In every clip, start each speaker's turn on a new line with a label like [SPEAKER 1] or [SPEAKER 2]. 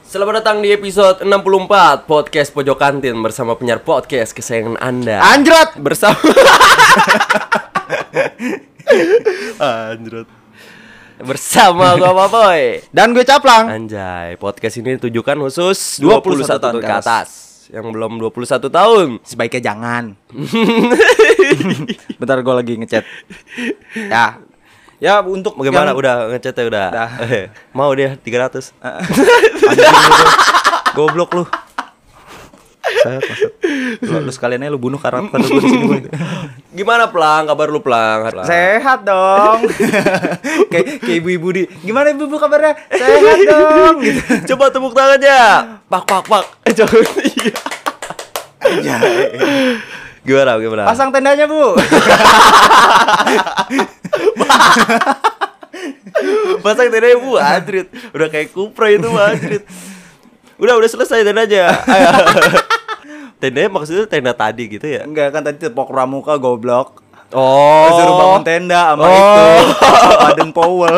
[SPEAKER 1] Selamat datang di episode 64 Podcast Pojok Kantin bersama penyiar podcast kesayangan Anda.
[SPEAKER 2] Anjrat.
[SPEAKER 1] Bersama
[SPEAKER 2] Anjrat.
[SPEAKER 1] bersama gua Papoy.
[SPEAKER 2] Dan gue caplang.
[SPEAKER 1] Anjay, podcast ini ditujukan khusus 21,
[SPEAKER 2] 21
[SPEAKER 1] tahun
[SPEAKER 2] ke
[SPEAKER 1] ke atas. Yang belum 21 tahun.
[SPEAKER 2] Sebaiknya jangan. Bentar gue lagi ngechat. Ya. Ya untuk
[SPEAKER 1] Bagaimana
[SPEAKER 2] yang-
[SPEAKER 1] udah ngechatnya udah?
[SPEAKER 2] Udah.
[SPEAKER 1] Mau dia 300.
[SPEAKER 2] Goblok lu. Sayat, maksud. Lu, lu sekalian aja lu bunuh karakter lu di sini gue.
[SPEAKER 1] Gimana Plang? Kabar lu Plang?
[SPEAKER 2] Sehat dong. kayak kayak ibu-ibu di. Gimana ibu-ibu kabarnya? Sehat dong. Gitu.
[SPEAKER 1] Coba tepuk tangannya. Pak pak pak. Eh, Jangan. Iya. Gimana gimana?
[SPEAKER 2] Pasang tendanya, Bu.
[SPEAKER 1] Pasang tendanya bu, Adrit Udah kayak kupra itu Bu Adrit Udah, udah selesai tendanya Ayo. Tendanya maksudnya tenda tadi gitu ya?
[SPEAKER 2] Enggak kan tadi tepok pramuka goblok.
[SPEAKER 1] Oh
[SPEAKER 2] Suruh bangun tenda sama
[SPEAKER 1] Oh.
[SPEAKER 2] itu. Baden Powell.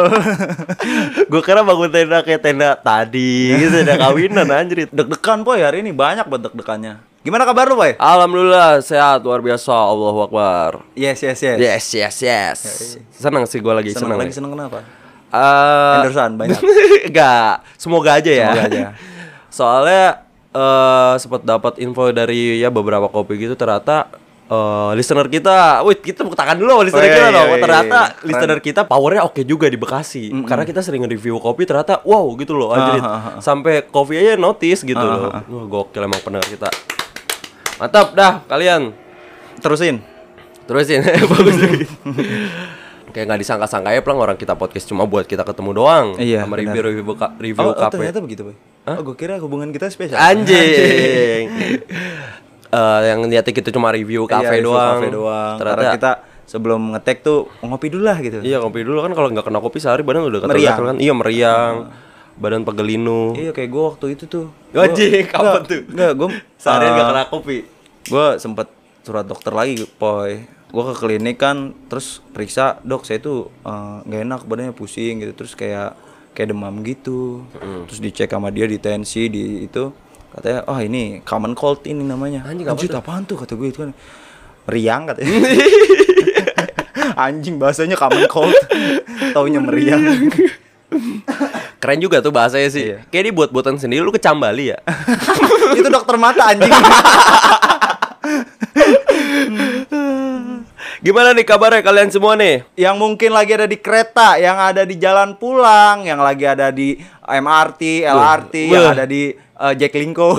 [SPEAKER 1] Gue kira bangun tenda kayak tenda tadi gitu Tenda kawinan anjrit
[SPEAKER 2] Deg-degan boy hari ini banyak banget deg-degannya. Gimana kabar lu boy?
[SPEAKER 1] Alhamdulillah sehat, luar biasa, Allahu Akbar
[SPEAKER 2] Yes yes yes.
[SPEAKER 1] Yes, yes, yes Senang sih gue lagi,
[SPEAKER 2] Iya, Seneng
[SPEAKER 1] senang
[SPEAKER 2] lagi seneng kenapa?
[SPEAKER 1] Eh,
[SPEAKER 2] Henderson, banyak.
[SPEAKER 1] Enggak, semoga aja ya.
[SPEAKER 2] Semoga aja.
[SPEAKER 1] Soalnya eh sempat dapat info dari ya beberapa kopi gitu ternyata eh, listener kita, wih kita tepuk tangan dulu sama listener
[SPEAKER 2] Wih,
[SPEAKER 1] kita dong.
[SPEAKER 2] wih,
[SPEAKER 1] Ternyata
[SPEAKER 2] iya, keren.
[SPEAKER 1] listener kita powernya oke juga di Bekasi. Karena kita sering review kopi ternyata wow gitu loh anjrit.
[SPEAKER 2] Ah, ah,
[SPEAKER 1] Sampai kopi aja notice gitu loh. Wah, gokil emang pendengar kita. Mantap dah kalian.
[SPEAKER 2] Terusin.
[SPEAKER 1] Terusin bagus lagi. Kayak nggak disangka-sangka ya pelang orang kita podcast cuma buat kita ketemu doang
[SPEAKER 2] Iya,
[SPEAKER 1] sama
[SPEAKER 2] benar.
[SPEAKER 1] review review buka- review
[SPEAKER 2] Oh, oh,
[SPEAKER 1] kafe.
[SPEAKER 2] ternyata begitu boy. Oh gue kira hubungan kita spesial.
[SPEAKER 1] Anjing. Eh, yang niatnya kita cuma review kafe
[SPEAKER 2] Iya, review
[SPEAKER 1] doang.
[SPEAKER 2] Kafe doang.
[SPEAKER 1] Ternyata
[SPEAKER 2] Karena kita sebelum ngetek tuh ngopi dulu lah gitu.
[SPEAKER 1] iya kopi dulu kan kalau nggak kena kopi sehari badan udah
[SPEAKER 2] Meriang. Ah.
[SPEAKER 1] gatal kan. Iya meriang. Badan pegelinu.
[SPEAKER 2] Iya kayak gue waktu itu tuh. Gua-
[SPEAKER 1] Anjing, kapan
[SPEAKER 2] Nggak,
[SPEAKER 1] tuh?
[SPEAKER 2] Nggak gue
[SPEAKER 1] Eh, Seharian
[SPEAKER 2] Eh,
[SPEAKER 1] nggak kena kopi.
[SPEAKER 2] Gue sempet surat dokter lagi boy. Gue ke klinik kan, terus periksa dok saya tuh eh, nggak enak badannya pusing gitu, terus kayak kayak demam gitu. Terus dicek sama dia di tensi di itu katanya oh ini common cold ini namanya. Anjing apaan tuh kata gue itu kan meriang katanya. Anjing bahasanya common cold, taunya meriang.
[SPEAKER 1] Keren juga tuh bahasanya sih.
[SPEAKER 2] Iya.
[SPEAKER 1] Kayak ini buat-buatan sendiri lu kecambali ya.
[SPEAKER 2] itu dokter mata anjing.
[SPEAKER 1] Gimana nih kabarnya kalian semua nih?
[SPEAKER 2] yang mungkin lagi ada di kereta, yang ada di jalan pulang, yang lagi ada di MRT, LRT, yang
[SPEAKER 1] Wah.
[SPEAKER 2] ada di eh, Jaklingko.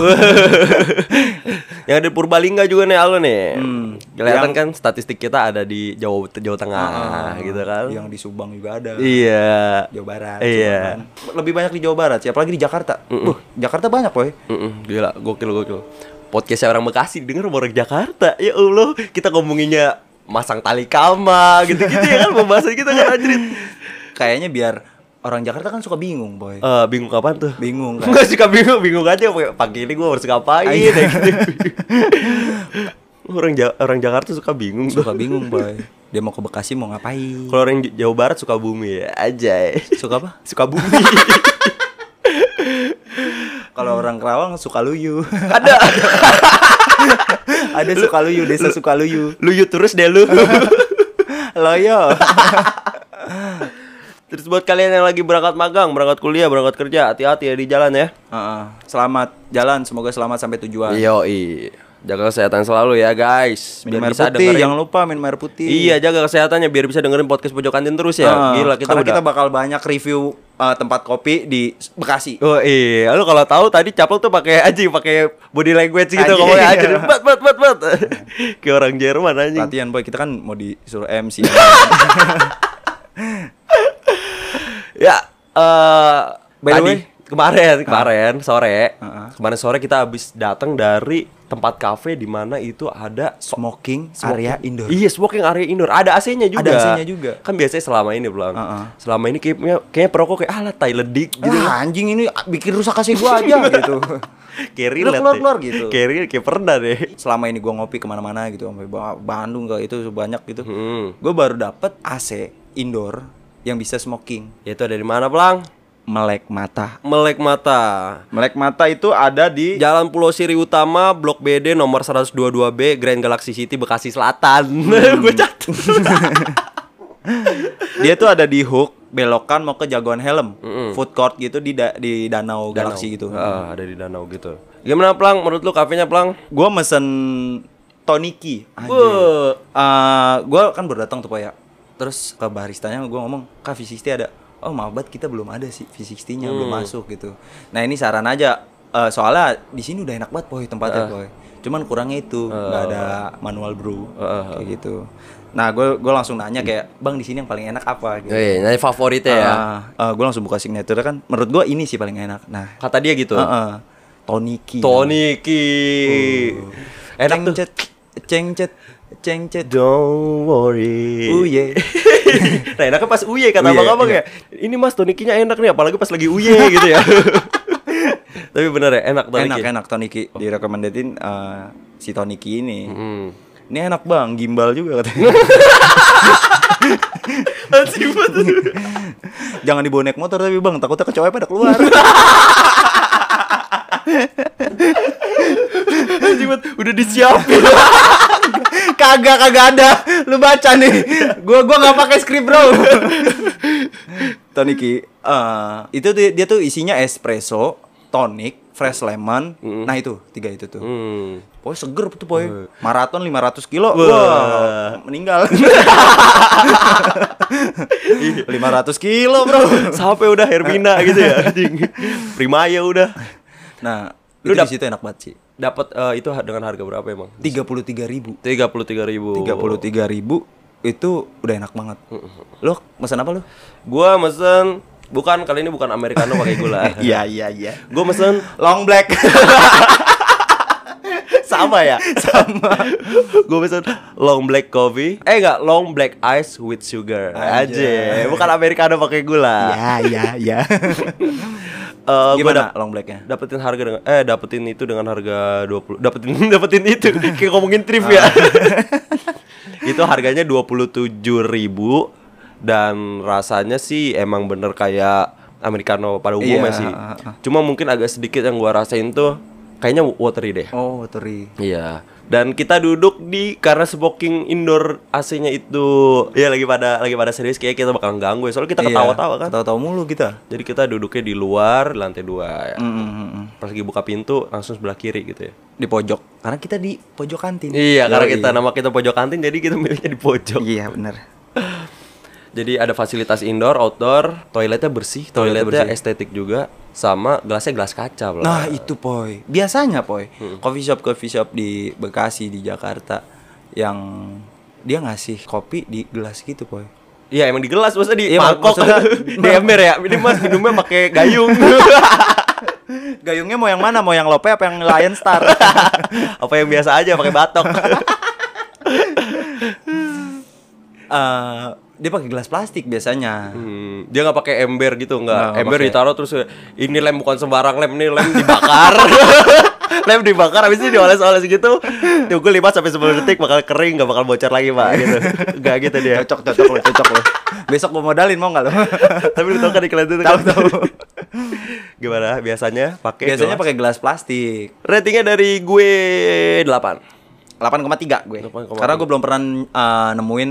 [SPEAKER 1] yang ada di Purbalingga juga nih Aldo nih. Kelihatan
[SPEAKER 2] Hmm. Yang- Ah.
[SPEAKER 1] kan statistik kita ada di Jawa Jawa Tengah gitu kan.
[SPEAKER 2] yang di Subang juga ada.
[SPEAKER 1] Iya.
[SPEAKER 2] Jawa Barat.
[SPEAKER 1] Iya.
[SPEAKER 2] Cuman Lebih banyak di Jawa Barat sih, apalagi di Jakarta. Wah, Jakarta banyak, boy.
[SPEAKER 1] Mm-mm, gila, gokil gokil. Podcastnya orang Bekasi denger orang Jakarta. Ya Allah, kita ngomonginnya masang tali kama gitu-gitu ya kan pembahasan kita kan anjrit.
[SPEAKER 2] Kayaknya biar orang Jakarta kan suka bingung, boy.
[SPEAKER 1] Eh, bingung kapan tuh?
[SPEAKER 2] Bingung kan.
[SPEAKER 1] Enggak suka bingung, bingung aja pagi- pagi ini gue harus ngapain
[SPEAKER 2] Iya.
[SPEAKER 1] ya gitu. orang Ja- orang Jakarta suka bingung tuh.
[SPEAKER 2] suka bingung, boy. Dia mau ke Bekasi mau ngapain?
[SPEAKER 1] Kalau orang J- Jawa Barat suka bumi ya, aja.
[SPEAKER 2] Suka apa?
[SPEAKER 1] Suka bumi.
[SPEAKER 2] Kalau orang Kerawang suka luyu.
[SPEAKER 1] Ada.
[SPEAKER 2] ada suka luyu, desa suka luyu.
[SPEAKER 1] lu yuk terus deh lu.
[SPEAKER 2] Loyo.
[SPEAKER 1] terus buat kalian yang lagi berangkat magang, berangkat kuliah, berangkat kerja, hati-hati ya di jalan ya.
[SPEAKER 2] Heeh. selamat jalan, semoga selamat sampai tujuan.
[SPEAKER 1] Iya. Yoi. Jaga kesehatan selalu ya guys.
[SPEAKER 2] Minum
[SPEAKER 1] Biar
[SPEAKER 2] air
[SPEAKER 1] bisa
[SPEAKER 2] putih,
[SPEAKER 1] dengerin.
[SPEAKER 2] jangan lupa minum air putih.
[SPEAKER 1] Iya, jaga kesehatannya biar bisa dengerin podcast pojok kantin terus ya.
[SPEAKER 2] Heeh,
[SPEAKER 1] Gila kita
[SPEAKER 2] Ah, karena
[SPEAKER 1] udah.
[SPEAKER 2] kita bakal banyak review eh, tempat kopi di Bekasi.
[SPEAKER 1] Oh iya, lu kalau tahu tadi Caplok tuh pakai aji, pakai body language gitu
[SPEAKER 2] Anjing,
[SPEAKER 1] ngomongnya
[SPEAKER 2] iya.
[SPEAKER 1] aja. Bat bat bat bat. Kayak orang Jerman anjing.
[SPEAKER 2] Latihan boy, kita kan mau disuruh MC.
[SPEAKER 1] Ya, eh
[SPEAKER 2] By the
[SPEAKER 1] tadi,
[SPEAKER 2] way-
[SPEAKER 1] kemarin
[SPEAKER 2] Ah.
[SPEAKER 1] kemarin sore, kemarin sore kita habis datang dari tempat kafe di mana itu ada
[SPEAKER 2] Smoking,
[SPEAKER 1] smoking-
[SPEAKER 2] area indoor.
[SPEAKER 1] Iya, smoking area indoor. Ada AC-nya juga.
[SPEAKER 2] Ada AC-nya juga. Ah,
[SPEAKER 1] Kan biasanya selama ini belum.
[SPEAKER 2] Heeh.
[SPEAKER 1] Selama ini kayaknya kayaknya perokok kayak alat tai ledik gitu.
[SPEAKER 2] Ah, anjing ini bikin rusak kasih gua aja gitu.
[SPEAKER 1] Kayak
[SPEAKER 2] Lu
[SPEAKER 1] relate
[SPEAKER 2] keluar-keluar
[SPEAKER 1] deh.
[SPEAKER 2] gitu.
[SPEAKER 1] Kayak relate, kayak pernah deh.
[SPEAKER 2] Selama ini gua ngopi kemana-mana gitu, sampai Ba- Bandung ke itu banyak gitu.
[SPEAKER 1] Hmm.
[SPEAKER 2] Gua baru dapet AC indoor yang bisa smoking.
[SPEAKER 1] Ya Itu dari mana, Plang?
[SPEAKER 2] melek mata.
[SPEAKER 1] Melek mata.
[SPEAKER 2] Melek mata itu ada di
[SPEAKER 1] Jalan Pulau Siri Utama, Blok BD nomor 122B, Grand Galaxy City, Bekasi Selatan.
[SPEAKER 2] Hmm.
[SPEAKER 1] Gue catat.
[SPEAKER 2] dia tuh ada di hook belokan mau ke jagoan helm. Food court gitu di da- di danau, galaksi gitu.
[SPEAKER 1] Ah, ada di danau gitu. Gimana Plang? Menurut lu kafenya Plang?
[SPEAKER 2] Gua mesen toniki. Anjir.
[SPEAKER 1] Wuh.
[SPEAKER 2] Eh, gua kan baru datang tuh Pak ya. Terus ke baristanya gua ngomong, "Kak V60 ada." Oh, maaf banget kita belum ada sih V60-nya belum masuk gitu. Nah, ini saran aja. Eh, soalnya di sini udah enak banget Boy tempatnya Boy. Cuman kurangnya itu nggak ada manual brew kayak gitu. Nah, gue gue langsung nanya kayak, "Bang, di sini yang paling enak apa?" gitu.
[SPEAKER 1] Eh, nanya favoritnya ya.
[SPEAKER 2] gue Ah, langsung buka signature kan. Menurut gua ini sih paling enak. Nah,
[SPEAKER 1] Kata dia gitu.
[SPEAKER 2] heeh, toniki.
[SPEAKER 1] Toniki. Enak tuh.
[SPEAKER 2] cengcet, cengcet, cengcet.
[SPEAKER 1] Don't worry.
[SPEAKER 2] Oh yeah.
[SPEAKER 1] nah enaknya pas uye kata
[SPEAKER 2] Uye,
[SPEAKER 1] abang-abang ya. Ini mas tonikinya enak nih, apalagi pas lagi uye gitu ya. Tapi bener ya, Oh. enak
[SPEAKER 2] enak
[SPEAKER 1] toniki.
[SPEAKER 2] enak Toniki direkomendatin eh, si Toniki ini
[SPEAKER 1] Hmm.
[SPEAKER 2] ini enak bang gimbal juga katanya
[SPEAKER 1] Anjing banget.
[SPEAKER 2] jangan dibonek motor tapi bang takutnya kecoa pada keluar
[SPEAKER 1] Anjing banget. Udah disiapin.
[SPEAKER 2] kagak kagak ada lu baca nih gua gua nggak pakai skrip bro Toniki eh, itu tuh- dia tuh isinya espresso tonic fresh lemon nah itu tiga itu tuh
[SPEAKER 1] Hmm.
[SPEAKER 2] Pokoknya seger tuh boy Maraton 500 kilo Wah Meninggal 500 kilo bro
[SPEAKER 1] Sampai udah Hermina gitu ya anjing. Primaya udah.
[SPEAKER 2] Nah,
[SPEAKER 1] Lu
[SPEAKER 2] itu
[SPEAKER 1] dap-
[SPEAKER 2] di situ enak banget sih.
[SPEAKER 1] Dapat eh, itu har- dengan harga berapa emang?
[SPEAKER 2] Tiga puluh tiga ribu.
[SPEAKER 1] 33.000.
[SPEAKER 2] Tiga puluh tiga ribu itu udah enak banget. Lo pesan apa lo?
[SPEAKER 1] Gua mesen bukan kali ini bukan americano pakai gula.
[SPEAKER 2] Iya iya iya.
[SPEAKER 1] Gua mesen
[SPEAKER 2] Long black.
[SPEAKER 1] sama ya sama gue pesan long black coffee eh enggak long black ice with sugar aja
[SPEAKER 2] Anjay.
[SPEAKER 1] bukan americano pakai gula
[SPEAKER 2] Ya ya ya.
[SPEAKER 1] Eh, gua
[SPEAKER 2] Gimana
[SPEAKER 1] dap-
[SPEAKER 2] long blacknya?
[SPEAKER 1] dapetin harga dengan eh dapetin itu dengan harga 20 dapetin dapetin itu kayak ngomongin trip
[SPEAKER 2] Ah.
[SPEAKER 1] ya itu harganya 27.000 dan rasanya sih emang bener kayak americano pada umumnya
[SPEAKER 2] Iya,
[SPEAKER 1] sih
[SPEAKER 2] ah, ah,
[SPEAKER 1] cuma mungkin agak sedikit yang gua rasain tuh kayaknya watery deh
[SPEAKER 2] Oh teri.
[SPEAKER 1] Iya. Dan kita duduk di karena smoking indoor AC-nya itu ya lagi pada lagi pada serius kayak kita bakal ganggu ya. Soalnya
[SPEAKER 2] Iya.
[SPEAKER 1] kita ketawa-tawa kan.
[SPEAKER 2] Ketawa-tawa mulu kita.
[SPEAKER 1] Jadi kita duduknya di luar lantai dua ya.
[SPEAKER 2] Mm, mm, mm, mm.
[SPEAKER 1] Pas lagi buka pintu langsung sebelah kiri gitu ya.
[SPEAKER 2] Di pojok. Karena kita di pojok kantin.
[SPEAKER 1] Iya, karena
[SPEAKER 2] Yoi.
[SPEAKER 1] kita nama kita pojok kantin jadi kita miliknya di pojok.
[SPEAKER 2] Iya benar.
[SPEAKER 1] Jadi ada fasilitas indoor, outdoor, toiletnya bersih, toiletnya, estetik juga sama gelasnya gelas kaca loh.
[SPEAKER 2] Nah itu poi. Biasanya poi. Coffee shop coffee shop di Bekasi di Jakarta yang dia ngasih kopi di gelas gitu poi.
[SPEAKER 1] Iya emang di gelas maksudnya di
[SPEAKER 2] Iya, mak-
[SPEAKER 1] mangkok
[SPEAKER 2] maksudnya-
[SPEAKER 1] di ember ya. Ini Mas minumnya pakai gayung.
[SPEAKER 2] Gayungnya mau yang mana? Mau yang Lope apa yang Lion Star?
[SPEAKER 1] Apa yang biasa aja pakai batok.
[SPEAKER 2] Eh, dia pakai gelas plastik biasanya.
[SPEAKER 1] Hmm, dia nggak pakai ember gitu
[SPEAKER 2] Nggak,
[SPEAKER 1] nggak
[SPEAKER 2] nggak
[SPEAKER 1] ember
[SPEAKER 2] pakai.
[SPEAKER 1] ditaruh terus ini lem bukan sembarang lem ini lem dibakar lem dibakar habis itu dioles-oles gitu tunggu 5 sampai 10 detik bakal kering nggak bakal bocor lagi pak gitu nggak gitu dia
[SPEAKER 2] Cocok cocok lo, cocok lo. Besok mau modalin mau nggak lo?
[SPEAKER 1] tapi lu tau kan iklan itu
[SPEAKER 2] Tahu,
[SPEAKER 1] kan?
[SPEAKER 2] tahu.
[SPEAKER 1] gimana biasanya pakai
[SPEAKER 2] biasanya
[SPEAKER 1] gelas?
[SPEAKER 2] pakai gelas plastik.
[SPEAKER 1] ratingnya dari gue 8
[SPEAKER 2] 8,3 gue.
[SPEAKER 1] 8,3.
[SPEAKER 2] Karena gue belum pernah eh, nemuin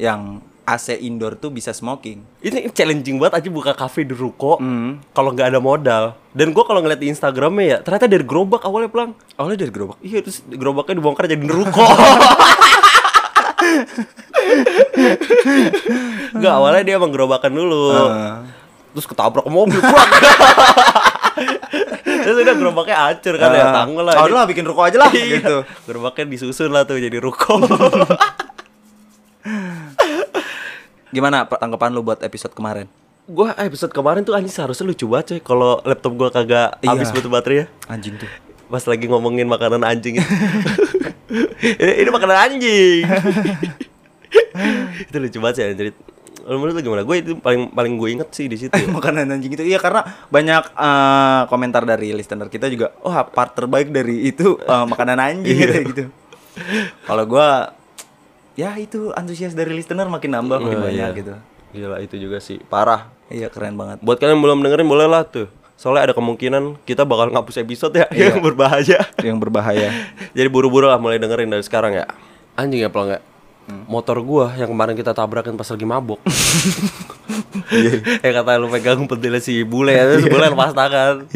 [SPEAKER 2] yang AC indoor tuh bisa smoking.
[SPEAKER 1] ini challenging banget aja buka kafe di ruko
[SPEAKER 2] Hmm.
[SPEAKER 1] kalau nggak ada modal dan gue kalau ngeliat di Instagramnya ya ternyata dari gerobak awalnya pelang
[SPEAKER 2] Awalnya Oh, dari gerobak.
[SPEAKER 1] Iya terus gerobaknya dibongkar jadi ruko. Enggak awalnya dia emang gerobakan dulu.
[SPEAKER 2] Heeh.
[SPEAKER 1] Terus ketabrak ke mobil. Brak. terus udah gerobaknya hancur kan ya tanggung lah.
[SPEAKER 2] Ah, udah lah bikin ruko aja lah
[SPEAKER 1] Iya.
[SPEAKER 2] gitu.
[SPEAKER 1] Gerobaknya disusun lah tuh jadi ruko.
[SPEAKER 2] Gimana Pak, tanggapan lu buat episode kemarin?
[SPEAKER 1] gua episode kemarin tuh anjing seharusnya lucu banget coy kalau laptop gua kagak
[SPEAKER 2] Iya.
[SPEAKER 1] habis butuh baterai ya.
[SPEAKER 2] Anjing tuh.
[SPEAKER 1] Pas lagi ngomongin makanan anjing. ini, ini makanan anjing. itu lucu banget sih anjir. Lu Menurut lu gimana? Gue itu paling paling gue inget sih di situ. ya.
[SPEAKER 2] Makanan anjing itu. Iya karena banyak eh, komentar dari listener kita juga, "Oh, part terbaik dari itu eh, makanan anjing." katanya gitu. Kalau gua ya itu antusias dari listener makin nambah makin
[SPEAKER 1] Oh, iya.
[SPEAKER 2] banyak gitu.
[SPEAKER 1] Gila itu juga sih parah.
[SPEAKER 2] Iya keren banget.
[SPEAKER 1] Buat kalian yang belum dengerin boleh lah tuh. Soalnya ada kemungkinan kita bakal ngapus episode ya
[SPEAKER 2] Iya.
[SPEAKER 1] yang berbahaya.
[SPEAKER 2] Yang berbahaya.
[SPEAKER 1] Jadi buru-buru lah mulai dengerin dari sekarang ya. Anjing ya pelangga. Motor gua yang kemarin kita tabrakin pas lagi mabok. Eh kata lu pegang pentilnya si bule ya, terus bule lepas tangan.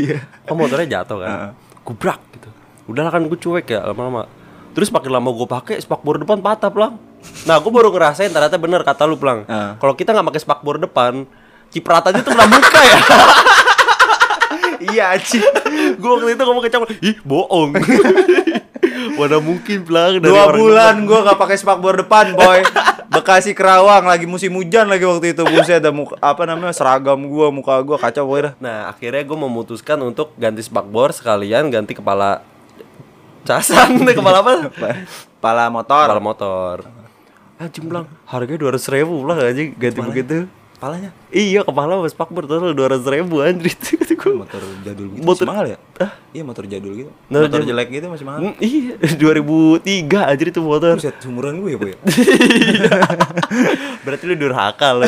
[SPEAKER 1] Kok motornya jatuh kan? Gubrak gitu. Udahlah kan gue cuek ya lama-lama. Terus makin lama gue pakai spakbor depan patah pelang. Nah gue baru ngerasain ternyata bener kata lu pelang.
[SPEAKER 2] Ah.
[SPEAKER 1] Kalau kita nggak pakai spakbor depan, cipratannya tuh kena muka ya.
[SPEAKER 2] iya cik.
[SPEAKER 1] gue waktu itu ngomong ke Cang, ih bohong. Mana mungkin pelang dari
[SPEAKER 2] Dua
[SPEAKER 1] orang
[SPEAKER 2] bulan gue gak pakai spakbor depan boy. Bekasi Kerawang lagi musim hujan lagi waktu itu buset ada muka, apa namanya seragam gue muka gue kacau boy dah.
[SPEAKER 1] Nah, akhirnya gue memutuskan untuk ganti spakbor sekalian ganti kepala casan deh kepala apa?
[SPEAKER 2] Pala motor.
[SPEAKER 1] Kepala motor. Anjing bilang harganya dua ratus ribu lah anjing ganti begitu.
[SPEAKER 2] Palanya.
[SPEAKER 1] Iya kepala sama spakbor total dua ratus ribu anjir itu kata gua.
[SPEAKER 2] Motor jadul gitu
[SPEAKER 1] Motor-
[SPEAKER 2] masih mahal ya?
[SPEAKER 1] Hah?
[SPEAKER 2] Iya motor jadul gitu.
[SPEAKER 1] Motor
[SPEAKER 2] Motor,
[SPEAKER 1] jadul.
[SPEAKER 2] jelek gitu masih mahal.
[SPEAKER 1] Hmm, iya dua ribu tiga anjir itu motor.
[SPEAKER 2] Buset, sumuran gue ya boy.
[SPEAKER 1] Berarti lu durhaka lu.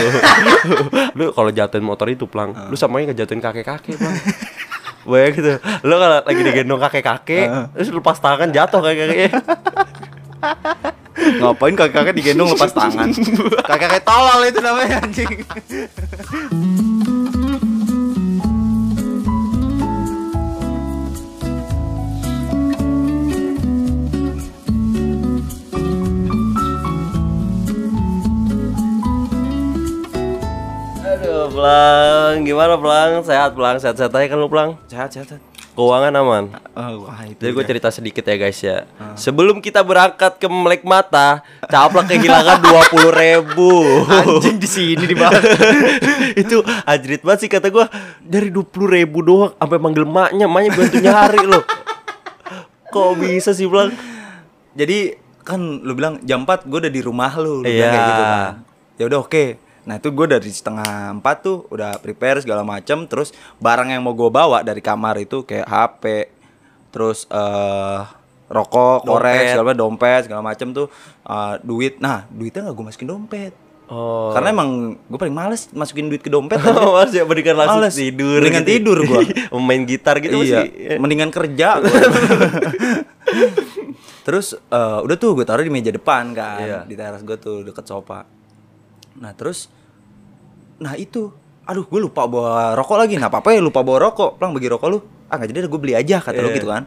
[SPEAKER 1] lu kalau jatuhin motor itu plang, lu samanya ngejatuhin kakek-kakek plang. Banyak gitu. Lu kalau lagi digendong kakek-kakek, terus lu lepas tangan jatuh kakek-kakek.
[SPEAKER 2] Ngapain kakak-kakak digendong lepas tangan? Kakak-kakak tolol itu namanya anjing.
[SPEAKER 1] Aduh, plang, gimana plang? Sehat plang, sehat-sehat aja kan lu plang?
[SPEAKER 2] Sehat, sehat. sehat.
[SPEAKER 1] Keuangan aman.
[SPEAKER 2] Oh, wah itu.
[SPEAKER 1] Jadi gue cerita sedikit ya guys ya. Sebelum kita berangkat ke Melek Mata, Caplak kehilangan dua puluh ribu.
[SPEAKER 2] anjing di sini di bawah.
[SPEAKER 1] itu ajrit banget sih kata gua dari dua ribu doang sampai manggil maknya maknya bantu nyari loh kok bisa sih bilang
[SPEAKER 2] Jadi kan lu bilang jam 4 gue udah di rumah lu, lu bilang
[SPEAKER 1] Iya.
[SPEAKER 2] kayak gitu kan. Ya udah oke. Nah itu gue dari setengah empat tuh udah prepare segala macem Terus barang yang mau gue bawa dari kamar itu kayak HP Terus eh rokok, korek, segala macem, dompet segala macem tuh eh, Duit, nah duitnya gak gue masukin dompet
[SPEAKER 1] oh
[SPEAKER 2] Karena emang gue paling males masukin duit ke dompet
[SPEAKER 1] Mas ya mendingan langsung
[SPEAKER 2] Males.
[SPEAKER 1] tidur
[SPEAKER 2] Mendingan tidur gua.
[SPEAKER 1] Main gitar gitu
[SPEAKER 2] iya.
[SPEAKER 1] masih
[SPEAKER 2] Mendingan kerja. gua. terus eh, udah tuh gue taruh di meja depan kan,
[SPEAKER 1] Iya.
[SPEAKER 2] di teras gue tuh deket sofa. Nah terus, nah itu, aduh gue lupa bawa rokok lagi. Nah apa ya lupa bawa rokok, pelang bagi rokok lu. Ah nggak jadi gue beli aja kata lu
[SPEAKER 1] Iya.
[SPEAKER 2] gitu kan.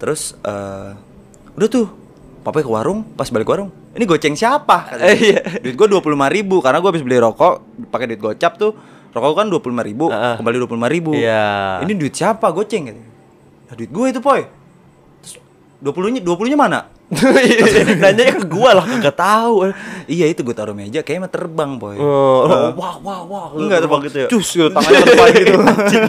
[SPEAKER 2] Terus eh, udah tuh, papa ke warung, pas balik ke warung, ini goceng siapa? Kata
[SPEAKER 1] Eh,
[SPEAKER 2] dia.
[SPEAKER 1] iya.
[SPEAKER 2] Duit gue dua ribu karena gue habis beli rokok pakai duit gocap tuh. Rokok kan dua puluh ribu,
[SPEAKER 1] Ah, ah.
[SPEAKER 2] kembali dua puluh ribu.
[SPEAKER 1] Iya.
[SPEAKER 2] Ini duit siapa goceng gitu. Nah, duit gue itu, Poy. Terus 20-nya 20-nya mana?
[SPEAKER 1] Nanya ke gua lah kagak tahu.
[SPEAKER 2] iya, itu gue taruh meja kayaknya mah terbang, Poy.
[SPEAKER 1] Oh, wah wah wah.
[SPEAKER 2] Enggak terbang gitu ya. Cus, gitu, tangannya terbang gitu.
[SPEAKER 1] Anjing.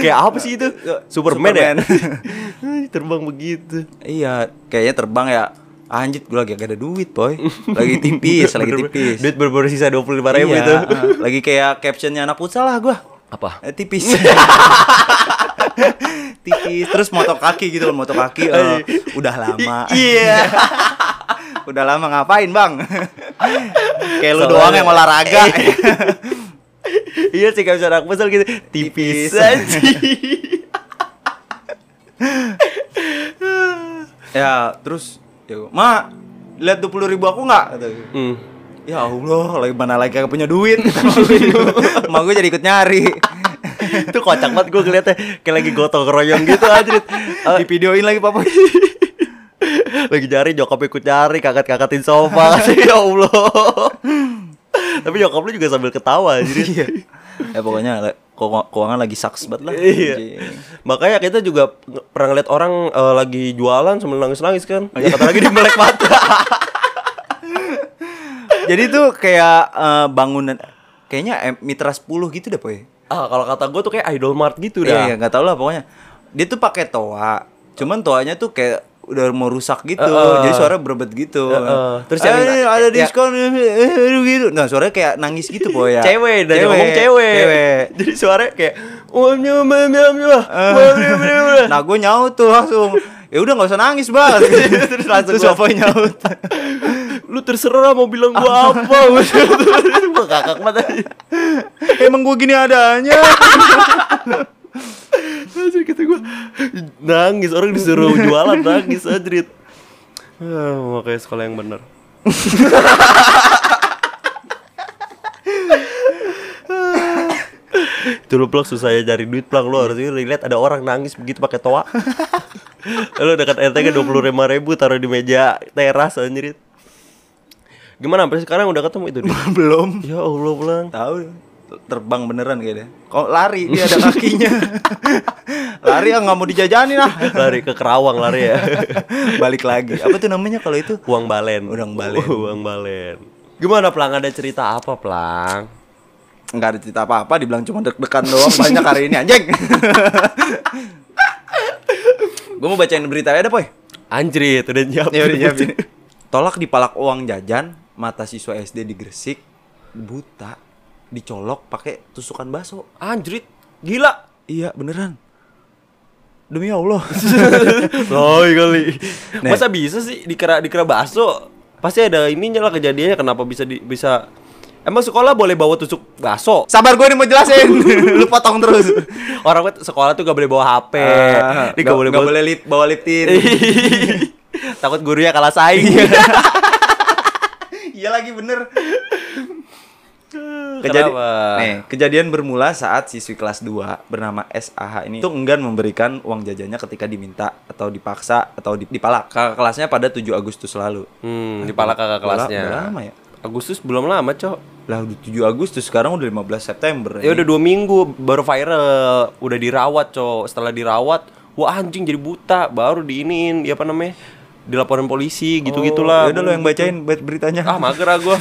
[SPEAKER 1] Kayak apa sih itu? Superman, ya?
[SPEAKER 2] Superman.
[SPEAKER 1] terbang begitu.
[SPEAKER 2] iya, kayaknya terbang ya. Anjir, gue lagi gak ada duit, Poy. Lagi tipis,
[SPEAKER 1] Bener-bener.
[SPEAKER 2] lagi
[SPEAKER 1] gitu.
[SPEAKER 2] tipis.
[SPEAKER 1] Duit berburu sisa 25 ribu
[SPEAKER 2] Iya,
[SPEAKER 1] itu.
[SPEAKER 2] ah. lagi kayak captionnya anak futsal lah gue.
[SPEAKER 1] Apa?
[SPEAKER 2] Eh, tipis. tipis terus motor kaki gitu kan motor kaki eh, udah lama
[SPEAKER 1] Iya.
[SPEAKER 2] udah lama ngapain bang kayak lu
[SPEAKER 1] Soalnya-
[SPEAKER 2] doang yang olahraga
[SPEAKER 1] Iya sih kalau anak futsal gitu tipis
[SPEAKER 2] Tipis.
[SPEAKER 1] aja.
[SPEAKER 2] ya terus ya gua, ma lihat dua puluh ribu aku nggak Kata gua.
[SPEAKER 1] hmm.
[SPEAKER 2] ya allah lagi mana lagi kagak punya duit emak gue jadi ikut nyari
[SPEAKER 1] Itu kocak banget gue ngeliatnya kayak lagi gotong royong gitu aja.
[SPEAKER 2] di videoin lagi papa
[SPEAKER 1] lagi nyari nyokap ikut nyari kakak-kakatin sofa sih ya Allah. Tapi nyokap lu juga sambil ketawa
[SPEAKER 2] iya
[SPEAKER 1] jadi.
[SPEAKER 2] ya pokoknya le- keuangan keuangan lagi saks banget lah
[SPEAKER 1] Iya.
[SPEAKER 2] Anjing.
[SPEAKER 1] Makanya kita juga nge- pernah ngeliat orang eh, lagi jualan sambil nangis-nangis kan. Ya, kata lagi di melek mata.
[SPEAKER 2] jadi tuh kayak eh, bangunan kayaknya eh, mitra 10 gitu deh poy
[SPEAKER 1] ah, kalau kata gue tuh kayak idol mart gitu
[SPEAKER 2] Iya,
[SPEAKER 1] dah.
[SPEAKER 2] iya, nggak tahu lah pokoknya. Dia tuh pakai toa. Cuman toanya tuh kayak udah mau rusak gitu.
[SPEAKER 1] Heeh.
[SPEAKER 2] Jadi suara berbet gitu.
[SPEAKER 1] Heeh. Terus
[SPEAKER 2] Terus
[SPEAKER 1] yang-
[SPEAKER 2] ada
[SPEAKER 1] ya-
[SPEAKER 2] diskon eh, gitu. Nah, suaranya kayak nangis gitu, Boy ya.
[SPEAKER 1] iya. Cewek, dan ngomong cewek. Ah. Jadi suaranya kayak "Om, nyom, nyom, nyom, nyom, nyom, nyom, nyom."
[SPEAKER 2] Nah, gue nyaut tuh langsung. Ya udah nggak usah nangis, Bang. Terus langsung
[SPEAKER 1] Terus
[SPEAKER 2] gue nyaut.
[SPEAKER 1] lu terserah mau bilang gua apa gua kakak banget aja
[SPEAKER 2] Emang gua gini adanya.
[SPEAKER 1] Anjir kata gua nangis orang disuruh jualan nangis anjir Ah, makanya sekolah yang bener Itu lu plak susah ya cari duit plak lu harusnya relate ada orang nangis begitu pakai toa Lu dekat RT dua puluh lima ribu taruh di meja teras anjir Gimana sampai sekarang udah ketemu itu Dit?
[SPEAKER 2] Belum.
[SPEAKER 1] Ya Allah pulang
[SPEAKER 2] Tahu terbang beneran kayaknya. Kok lari dia ada kakinya. lari ah nggak mau dijajanin ah.
[SPEAKER 1] Lari ke Kerawang lari ya
[SPEAKER 2] Balik lagi. Apa tuh namanya kalau itu?
[SPEAKER 1] Uang balen.
[SPEAKER 2] Uang balen.
[SPEAKER 1] Uang balen. Gimana Plang ada cerita apa Plang?
[SPEAKER 2] Nggak ada cerita apa-apa, dibilang cuma deg-degan doang banyak hari ini anjing. gue mau bacain berita ada, Poy.
[SPEAKER 1] Anjrit, udah nyiapin.
[SPEAKER 2] Ya udah nyiapin. Tolak dipalak uang jajan, mata siswa SD di Gresik buta dicolok pakai tusukan baso.
[SPEAKER 1] Anjrit, gila.
[SPEAKER 2] Iya, beneran. Demi Allah.
[SPEAKER 1] Loh kali.
[SPEAKER 2] Nih.
[SPEAKER 1] Masa bisa sih dikira dikira bakso? Pasti ada ininya lah kejadiannya kenapa bisa di, bisa Emang sekolah boleh bawa tusuk bakso?
[SPEAKER 2] Sabar gue nih mau jelasin. Lu potong terus.
[SPEAKER 1] Orang kan sekolah tuh gak boleh bawa HP.
[SPEAKER 2] Eh,
[SPEAKER 1] Ini gak boleh bawa
[SPEAKER 2] boleh lit- bawa liptin.
[SPEAKER 1] Takut gurunya kalah saing.
[SPEAKER 2] Iya lagi bener. Kejadian,
[SPEAKER 1] Kenapa?
[SPEAKER 2] nih, kejadian bermula saat siswi kelas 2 bernama SAH ini tuh enggan memberikan uang jajannya ketika diminta atau dipaksa atau di- dipalak. Kakak kelasnya pada 7 Agustus lalu.
[SPEAKER 1] Hmm, dipalak kakak
[SPEAKER 2] Udah- udah
[SPEAKER 1] kelasnya.
[SPEAKER 2] lama ya?
[SPEAKER 1] Agustus belum lama, Cok.
[SPEAKER 2] Lah udah 7 Agustus sekarang udah 15 September.
[SPEAKER 1] Ya udah dua minggu baru viral, udah dirawat cow. Setelah dirawat, wah anjing jadi buta, baru diinin, ya apa namanya, dilaporin polisi gitu gitulah.
[SPEAKER 2] Oh, ya udah lo yang bacain ber- beritanya.
[SPEAKER 1] Ah mager ah gue.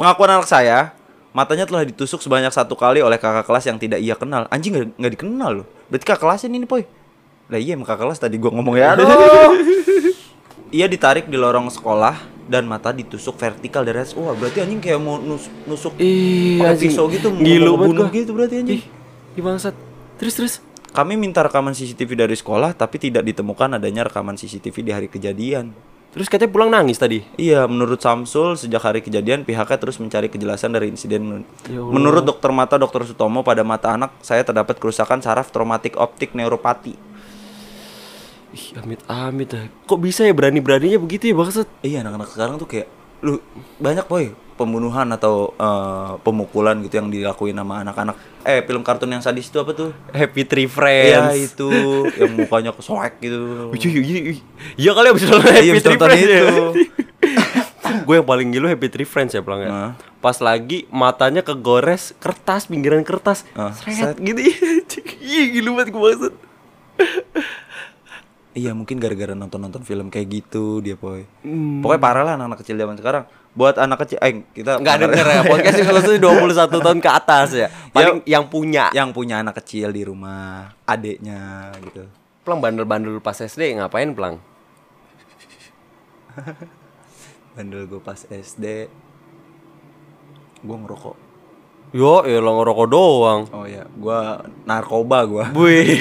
[SPEAKER 2] Pengakuan anak saya, matanya telah ditusuk sebanyak satu kali oleh kakak kelas yang tidak ia kenal. Anjing nggak nggak dikenal loh. Berarti kakak kelasnya ini, Poy. Lah iya emang kakak kelas tadi gua ngomong ya. Aduh. ia ditarik di lorong sekolah dan mata ditusuk vertikal dari atas. Wah, berarti anjing kayak mau nus- nusuk pakai pisau gitu, mau-
[SPEAKER 1] Ngilu
[SPEAKER 2] mau
[SPEAKER 1] banget
[SPEAKER 2] bunuh
[SPEAKER 1] gua.
[SPEAKER 2] gitu berarti anjing.
[SPEAKER 1] Ih, ih, bangsat. Terus terus.
[SPEAKER 2] Kami minta rekaman CCTV dari sekolah tapi tidak ditemukan adanya rekaman CCTV di hari kejadian.
[SPEAKER 1] Terus katanya pulang nangis tadi.
[SPEAKER 2] Iya, menurut Samsul sejak hari kejadian pihaknya terus mencari kejelasan dari insiden. Men- Menurut dokter mata Dr. Sutomo pada mata anak saya terdapat kerusakan saraf traumatik optik neuropati.
[SPEAKER 1] Ih, amit amit ah. Kok bisa ya berani beraninya begitu ya bangsat?
[SPEAKER 2] Iya, anak-anak sekarang tuh kayak lu banyak boy pembunuhan atau eh, pemukulan gitu yang dilakuin sama anak-anak. Eh, film kartun yang sadis itu apa tuh?
[SPEAKER 1] Happy Tree
[SPEAKER 2] Iya,
[SPEAKER 1] Friends.
[SPEAKER 2] itu yang mukanya kesoek gitu.
[SPEAKER 1] Iya iya iya. Iya kali abis nonton
[SPEAKER 2] Iya,
[SPEAKER 1] Happy
[SPEAKER 2] abis
[SPEAKER 1] Tree
[SPEAKER 2] nonton
[SPEAKER 1] Friends ya.
[SPEAKER 2] itu.
[SPEAKER 1] Gue yang paling gila Happy Tree Friends ya pelang ya.
[SPEAKER 2] Nah.
[SPEAKER 1] Pas lagi matanya kegores kertas pinggiran kertas.
[SPEAKER 2] Ah,
[SPEAKER 1] seret
[SPEAKER 2] set.
[SPEAKER 1] gitu. Iya gila banget gue maksud.
[SPEAKER 2] Iya mungkin gara-gara nonton-nonton film kayak gitu dia boy. Pokoknya parah lah anak-anak kecil zaman sekarang. Buat anak kecil, eh kita
[SPEAKER 1] Enggak denger ya podcast ini khususnya 21 tahun ke atas ya. Paling yang punya.
[SPEAKER 2] yang punya anak kecil di rumah, adiknya gitu.
[SPEAKER 1] Pelang bandel-bandel pas SD ngapain pelang?
[SPEAKER 2] Bandel gue pas SD, gue ngerokok.
[SPEAKER 1] Yo, ya lo ngerokok doang.
[SPEAKER 2] Oh ya, gue narkoba gue.
[SPEAKER 1] Wih.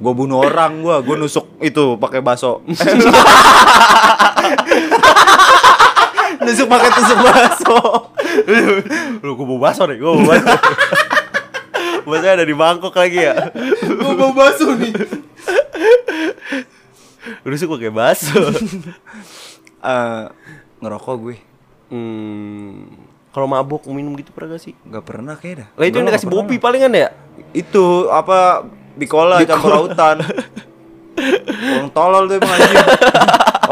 [SPEAKER 2] gue bunuh orang gue, gue nusuk itu pakai baso. nusuk pakai tusuk baso.
[SPEAKER 1] Lu gue bawa baso nih, gue bawa baso. Basonya ada di Bangkok lagi ya.
[SPEAKER 2] gue mau baso nih.
[SPEAKER 1] Lu sih pakai baso.
[SPEAKER 2] Eh, ngerokok gue,
[SPEAKER 1] Hmm, kalau mabuk minum gitu pernah gak sih?
[SPEAKER 2] nggak pernah kayaknya dah.
[SPEAKER 1] Lah itu yang
[SPEAKER 2] Nggak,
[SPEAKER 1] dikasih
[SPEAKER 2] nggak
[SPEAKER 1] bopi palingan ya?
[SPEAKER 2] pernah. Itu apa bikola campur lautan. Orang tolol tuh emang anjing.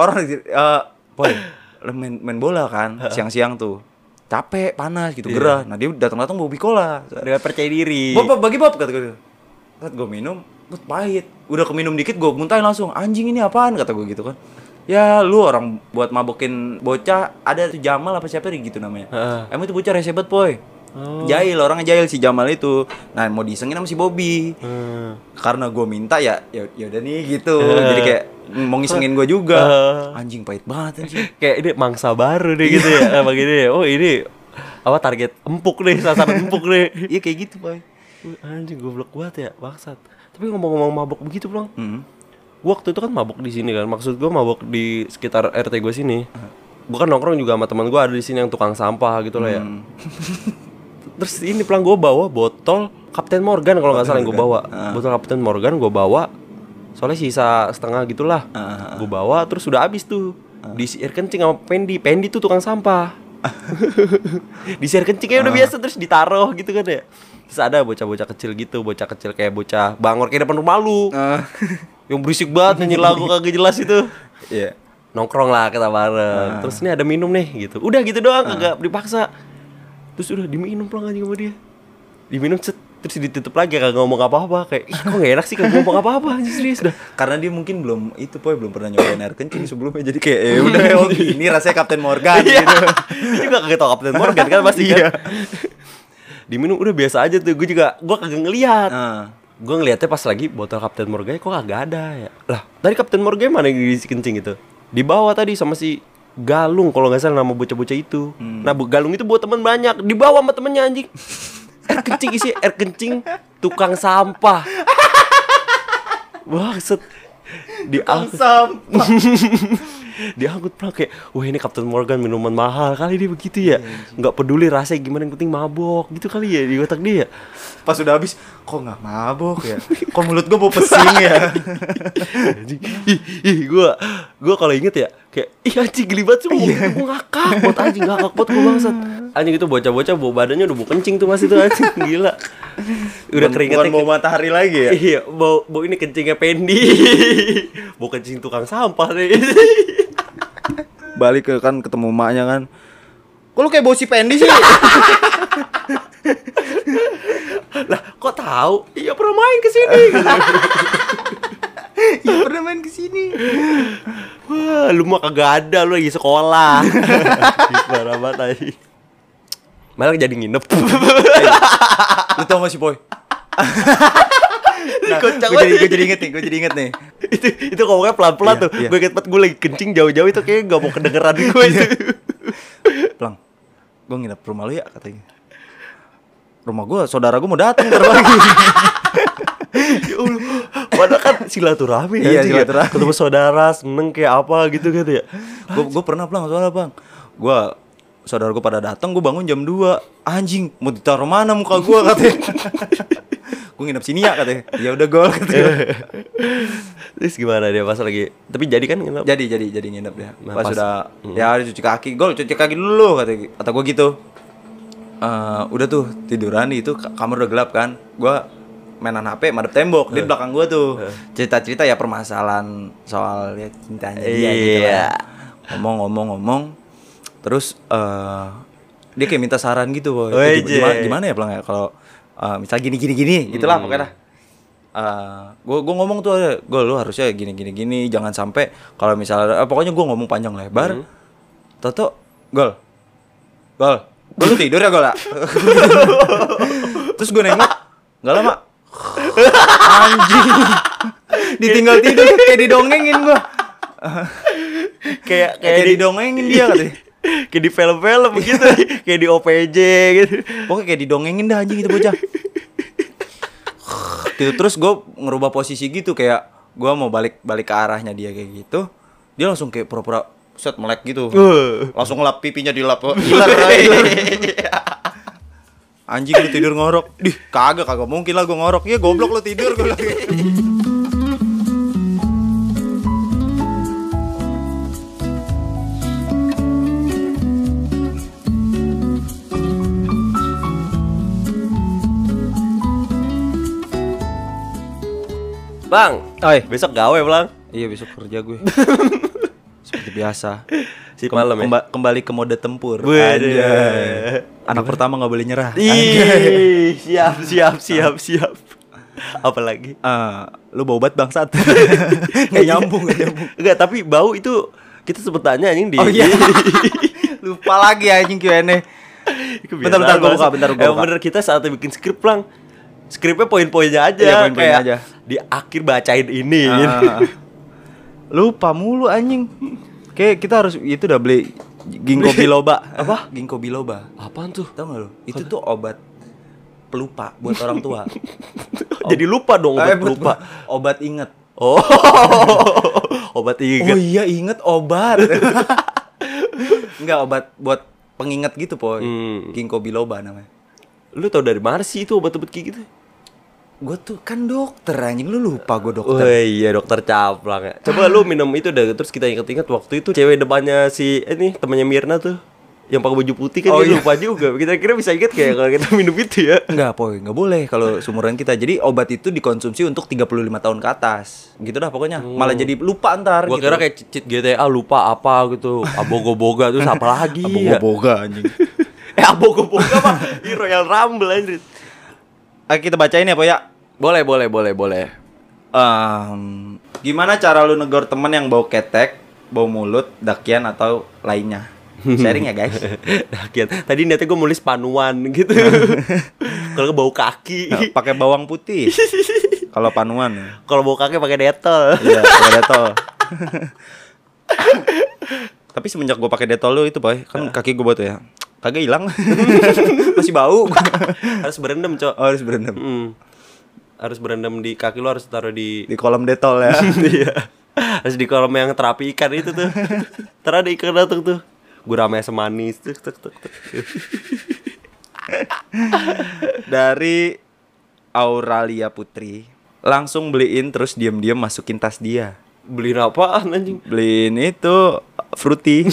[SPEAKER 2] Orang eh boy, lu main, main bola kan siang-siang tuh. Capek, panas gitu, gerah. Nah, dia datang-datang bawa bikola.
[SPEAKER 1] Dengan percaya diri.
[SPEAKER 2] Bob, Bob, bagi Bob kata gue. Saat gue minum, gue pahit. Udah keminum dikit gue muntahin langsung. Anjing ini apaan kata gue gitu kan. Ya lu orang buat mabokin bocah ada tuh Jamal apa siapa gitu namanya.
[SPEAKER 1] Heeh. Oh.
[SPEAKER 2] Emang itu bocah rese banget, boy. Jahil orangnya jahil si Jamal itu. Nah, mau disengin sama si Bobby.
[SPEAKER 1] Hmm.
[SPEAKER 2] Karena gue minta ya ya udah nih gitu.
[SPEAKER 1] Heeh.
[SPEAKER 2] Jadi kayak mm, mau ngisengin gue juga.
[SPEAKER 1] Heeh.
[SPEAKER 2] Anjing pahit banget anjing.
[SPEAKER 1] Kayak ini mangsa baru deh gitu ya. Emang ini, oh ini apa target empuk nih, sasaran empuk nih.
[SPEAKER 2] Iya kayak gitu, boy.
[SPEAKER 1] Wih, Anjing goblok banget ya, bangsat. Tapi ngomong-ngomong mabuk begitu, Bang.
[SPEAKER 2] Hmm.
[SPEAKER 1] Gua waktu itu kan mabuk di sini kan. Maksud gua mabuk di sekitar RT gua sini. gue kan nongkrong juga sama teman gue ada di sini yang tukang sampah gitu lah ya terus ini pelang gue bawa botol Kapten Morgan Ah. kalau nggak salah yang gue bawa botol Kapten Morgan gue bawa soalnya sisa setengah gitulah gue bawa terus sudah habis tuh disiir kencing sama Pendi Pendi tuh tukang sampah disiir kencing kayak udah biasa terus ditaruh gitu kan ya terus ada bocah-bocah kecil gitu bocah kecil kayak bocah bangor kayak depan rumah lu
[SPEAKER 2] Nah,
[SPEAKER 1] yang berisik banget nyanyi lagu kagak jelas itu
[SPEAKER 2] Iya.
[SPEAKER 1] nongkrong lah kita bareng. Terus ini ada minum nih gitu. Udah gitu doang kagak dipaksa. Terus udah diminum pulang aja sama dia. Diminum cet terus ditutup lagi kagak ngomong apa-apa kayak ih kok gak enak sih kagak ngomong apa-apa anjing, serius dah.
[SPEAKER 2] Karena dia mungkin belum itu poy belum pernah nyobain air kencing sebelumnya jadi kayak ya udah oh, ini rasanya Kapten Morgan
[SPEAKER 1] Iya.
[SPEAKER 2] gitu.
[SPEAKER 1] Dia juga kagak tau Kapten Morgan kan pasti kan. diminum udah biasa aja tuh. Gue juga gua kagak ngelihat.
[SPEAKER 2] Ah.
[SPEAKER 1] Gue ngelihatnya pas lagi botol Kapten Morgan kok kagak ada ya. Lah, tadi Kapten Morgan mana yang diisi kencing itu? Di bawah tadi sama si Galung kalau nggak salah nama bocah-bocah itu. Nah, Bu- Galung itu buat teman banyak, dibawa sama temennya anjing. Air kencing isi air kencing tukang sampah. Maksud diangkut
[SPEAKER 2] sampah.
[SPEAKER 1] diangkut pulang kayak wah ini Captain Morgan minuman mahal kali dia begitu ya nggak peduli rasanya gimana yang penting mabok gitu kali ya di otak dia ya.
[SPEAKER 2] Pas udah habis kok nggak mabok ya? Kok mulut gue bau pesing ya?
[SPEAKER 1] Anjing. ih, ih, gua gua kalau inget ya kayak ih anjing geli banget sih
[SPEAKER 2] Iya.
[SPEAKER 1] gua, gua ngakak buat anjing ngakak buat gua bangsat. Anjing itu bocah-bocah bau badannya udah mau kencing tuh masih tuh anjing gila. Udah
[SPEAKER 2] Bukan-
[SPEAKER 1] keringetnya
[SPEAKER 2] bukan bau matahari lagi ya?
[SPEAKER 1] Iya, bau bau ini kencingnya pendi. bau kencing tukang sampah nih.
[SPEAKER 2] Balik ke kan ketemu emaknya kan. Kok lu kayak bau si Pendi sih?
[SPEAKER 1] lah, kok tahu? Iya pernah main ke sini.
[SPEAKER 2] Iya pernah main kesini.
[SPEAKER 1] Wah, lu mah kagak ada, lu lagi sekolah. Parah banget anjing. Malah jadi nginep.
[SPEAKER 2] Lu tau gak sih Poy? Nah, gue
[SPEAKER 1] Kocak
[SPEAKER 2] jadi,
[SPEAKER 1] banget.
[SPEAKER 2] gue jadi inget nih, gue jadi inget nih
[SPEAKER 1] itu itu ngomongnya pelan-pelan
[SPEAKER 2] Iya,
[SPEAKER 1] tuh.
[SPEAKER 2] iya.
[SPEAKER 1] Gue inget banget gue lagi kencing jauh-jauh itu kayaknya gak mau kedengeran gue itu.
[SPEAKER 2] Pelang, gue nginep rumah lu ya katanya Rumah gue, saudara gue mau datang ntar pagi
[SPEAKER 1] Ya Allah. Padahal kan silaturahmi
[SPEAKER 2] Iya,
[SPEAKER 1] anjing
[SPEAKER 2] silaturahmi.
[SPEAKER 1] Ya. Ketemu saudara, seneng kayak apa gitu gitu ya.
[SPEAKER 2] Gue gue pernah pelang, soalnya bang Gue, saudara gue pada datang, gue bangun jam 2 Anjing, mau ditaruh mana muka gue katanya Gue nginep sini ya katanya Ya udah gue katanya
[SPEAKER 1] Terus gimana dia pas lagi? Tapi jadi kan nginep.
[SPEAKER 2] Jadi, jadi, jadi nginep ya
[SPEAKER 1] Nah,
[SPEAKER 2] Pas
[SPEAKER 1] pas-
[SPEAKER 2] udah, ya harus cuci kaki Gue cuci kaki dulu katanya Kata gue gitu Eh, udah tuh tiduran itu kamar udah gelap kan gua mainan HP madep tembok
[SPEAKER 1] Eh.
[SPEAKER 2] di belakang gua tuh cerita-cerita ya permasalahan soal ya cintanya dia gitu
[SPEAKER 1] Iya.
[SPEAKER 2] lah. ngomong-ngomong-ngomong terus eh dia kayak minta saran gitu boy Eh,
[SPEAKER 1] Weje.
[SPEAKER 2] gimana, gimana ya pelang ya kalau eh, misalnya gini gini gini
[SPEAKER 1] Hmm.
[SPEAKER 2] gitulah pokoknya dah Eh, gua gua ngomong tuh gue lu harusnya gini gini gini jangan sampai kalau misalnya eh, pokoknya gua ngomong panjang
[SPEAKER 1] Hmm.
[SPEAKER 2] lebar Toto gol gol gua lu tidur ya gol lah terus gue nengok nggak lama anjing ditinggal tidur kayak didongengin gua
[SPEAKER 1] kayak
[SPEAKER 2] kayak didongengin dia katanya
[SPEAKER 1] kayak di film-film
[SPEAKER 2] Iya.
[SPEAKER 1] gitu, kayak di OPJ gitu.
[SPEAKER 2] Pokoknya kayak didongengin dah anjing itu bocah. gitu terus gue ngerubah posisi gitu kayak gue mau balik balik ke arahnya dia kayak gitu. Dia langsung kayak pura-pura set melek gitu.
[SPEAKER 1] Uh.
[SPEAKER 2] langsung ngelap pipinya oh, dilap. Ilar, ilar. Anjing lu tidur ngorok. Dih, kagak kagak mungkin lah gue ngorok. Ya goblok lu tidur gue.
[SPEAKER 1] Bang,
[SPEAKER 2] Oi.
[SPEAKER 1] besok gawe, Bang.
[SPEAKER 2] Iya besok kerja gue. Seperti biasa.
[SPEAKER 1] Si malam ya.
[SPEAKER 2] Kemba- kembali ke mode tempur.
[SPEAKER 1] Wede.
[SPEAKER 2] Anjay. Anak pertama nggak boleh nyerah.
[SPEAKER 1] Ih, siap, siap, siap, siap. Apalagi?
[SPEAKER 2] Eh, lu bau banget bangsat. Nggak nyambung, nggak nyambung.
[SPEAKER 1] Enggak, tapi bau itu kita sempet tanya anjing di.
[SPEAKER 2] Oh iya. Lupa lagi anjing Q&A.
[SPEAKER 1] Kebiasaan
[SPEAKER 2] Bentar bentar gua buka,
[SPEAKER 1] banget.
[SPEAKER 2] bentar gua
[SPEAKER 1] Emang
[SPEAKER 2] buka.
[SPEAKER 1] bener kita saat bikin skrip lang. Skripnya poin-poinnya aja.
[SPEAKER 2] Iya, poin-poinnya
[SPEAKER 1] kayak
[SPEAKER 2] aja.
[SPEAKER 1] Di akhir bacain ini.
[SPEAKER 2] Ah. Lupa mulu anjing. Kayak kita harus itu udah beli ginkgo biloba. Apa? Ginkgo biloba.
[SPEAKER 1] Apaan tuh?
[SPEAKER 2] Tahu nggak lu? Itu tuh obat pelupa buat orang tua.
[SPEAKER 1] Jadi lupa dong,
[SPEAKER 2] obat
[SPEAKER 1] obat lupa.
[SPEAKER 2] Obat inget.
[SPEAKER 1] Oh, obat inget.
[SPEAKER 2] iya inget obat. Enggak obat buat pengingat gitu, Poy.
[SPEAKER 1] Hmm.
[SPEAKER 2] Ginkgo biloba namanya.
[SPEAKER 1] Lu tau dari mana sih itu obat-obat kayak gitu?
[SPEAKER 2] Gue tuh kan dokter anjing, lu lupa gue dokter.
[SPEAKER 1] Wah iya dokter caplang ya. Coba lu minum itu dah terus kita inget-inget waktu itu cewek depannya si eh, ini temannya Mirna tuh yang pakai baju putih kan
[SPEAKER 2] Oh,
[SPEAKER 1] dia
[SPEAKER 2] iya.
[SPEAKER 1] lupa juga. Kita kira bisa inget kayak kalau kita minum itu ya.
[SPEAKER 2] Enggak, Poy, enggak boleh kalau seumuran kita. Jadi obat itu dikonsumsi untuk 35 tahun ke atas. Gitu dah pokoknya. Malah jadi lupa ntar
[SPEAKER 1] Oh. Gua
[SPEAKER 2] gitu.
[SPEAKER 1] kira kayak cheat GTA lupa apa gitu. Abogo-boga terus apa lagi ya?
[SPEAKER 2] boga anjing.
[SPEAKER 1] Eh abogo-boga apa? Di Royal Rumble anjir.
[SPEAKER 2] Ah, kita bacain ya, Poy ya.
[SPEAKER 1] Boleh boleh boleh boleh.
[SPEAKER 2] Em, gimana cara lu negor temen yang bau ketek, bau mulut, dakian atau lainnya? Sharing ya, guys.
[SPEAKER 1] Rakyat. Tadi niatnya gue nulis panuan gitu. Kalau bau
[SPEAKER 2] Nah,
[SPEAKER 1] kaki,
[SPEAKER 2] pakai bawang putih. Kalau panuan. ya.
[SPEAKER 1] kalau bau kaki pakai detol.
[SPEAKER 2] Iya, pakai detol. Tapi semenjak gue pakai detol lu itu, Boy, kan kaki gue batu ya. Kagak hilang. Masih bau.
[SPEAKER 1] Harus berendam, Cok.
[SPEAKER 2] oh, harus berendam.
[SPEAKER 1] Mm. Harus berendam di kaki lo harus taruh di
[SPEAKER 2] Di kolam detol ya.
[SPEAKER 1] iya. harus di kolam yang terapi ikan itu tuh. Ntar ada ikan datang tuh. Gurame semanis tuh. Tuk, tuk, tuk.
[SPEAKER 2] Dari Auralia Putri. Langsung beliin terus diam-diam masukin tas dia.
[SPEAKER 1] Beliin apaan anjing?
[SPEAKER 2] Beliin itu fruity.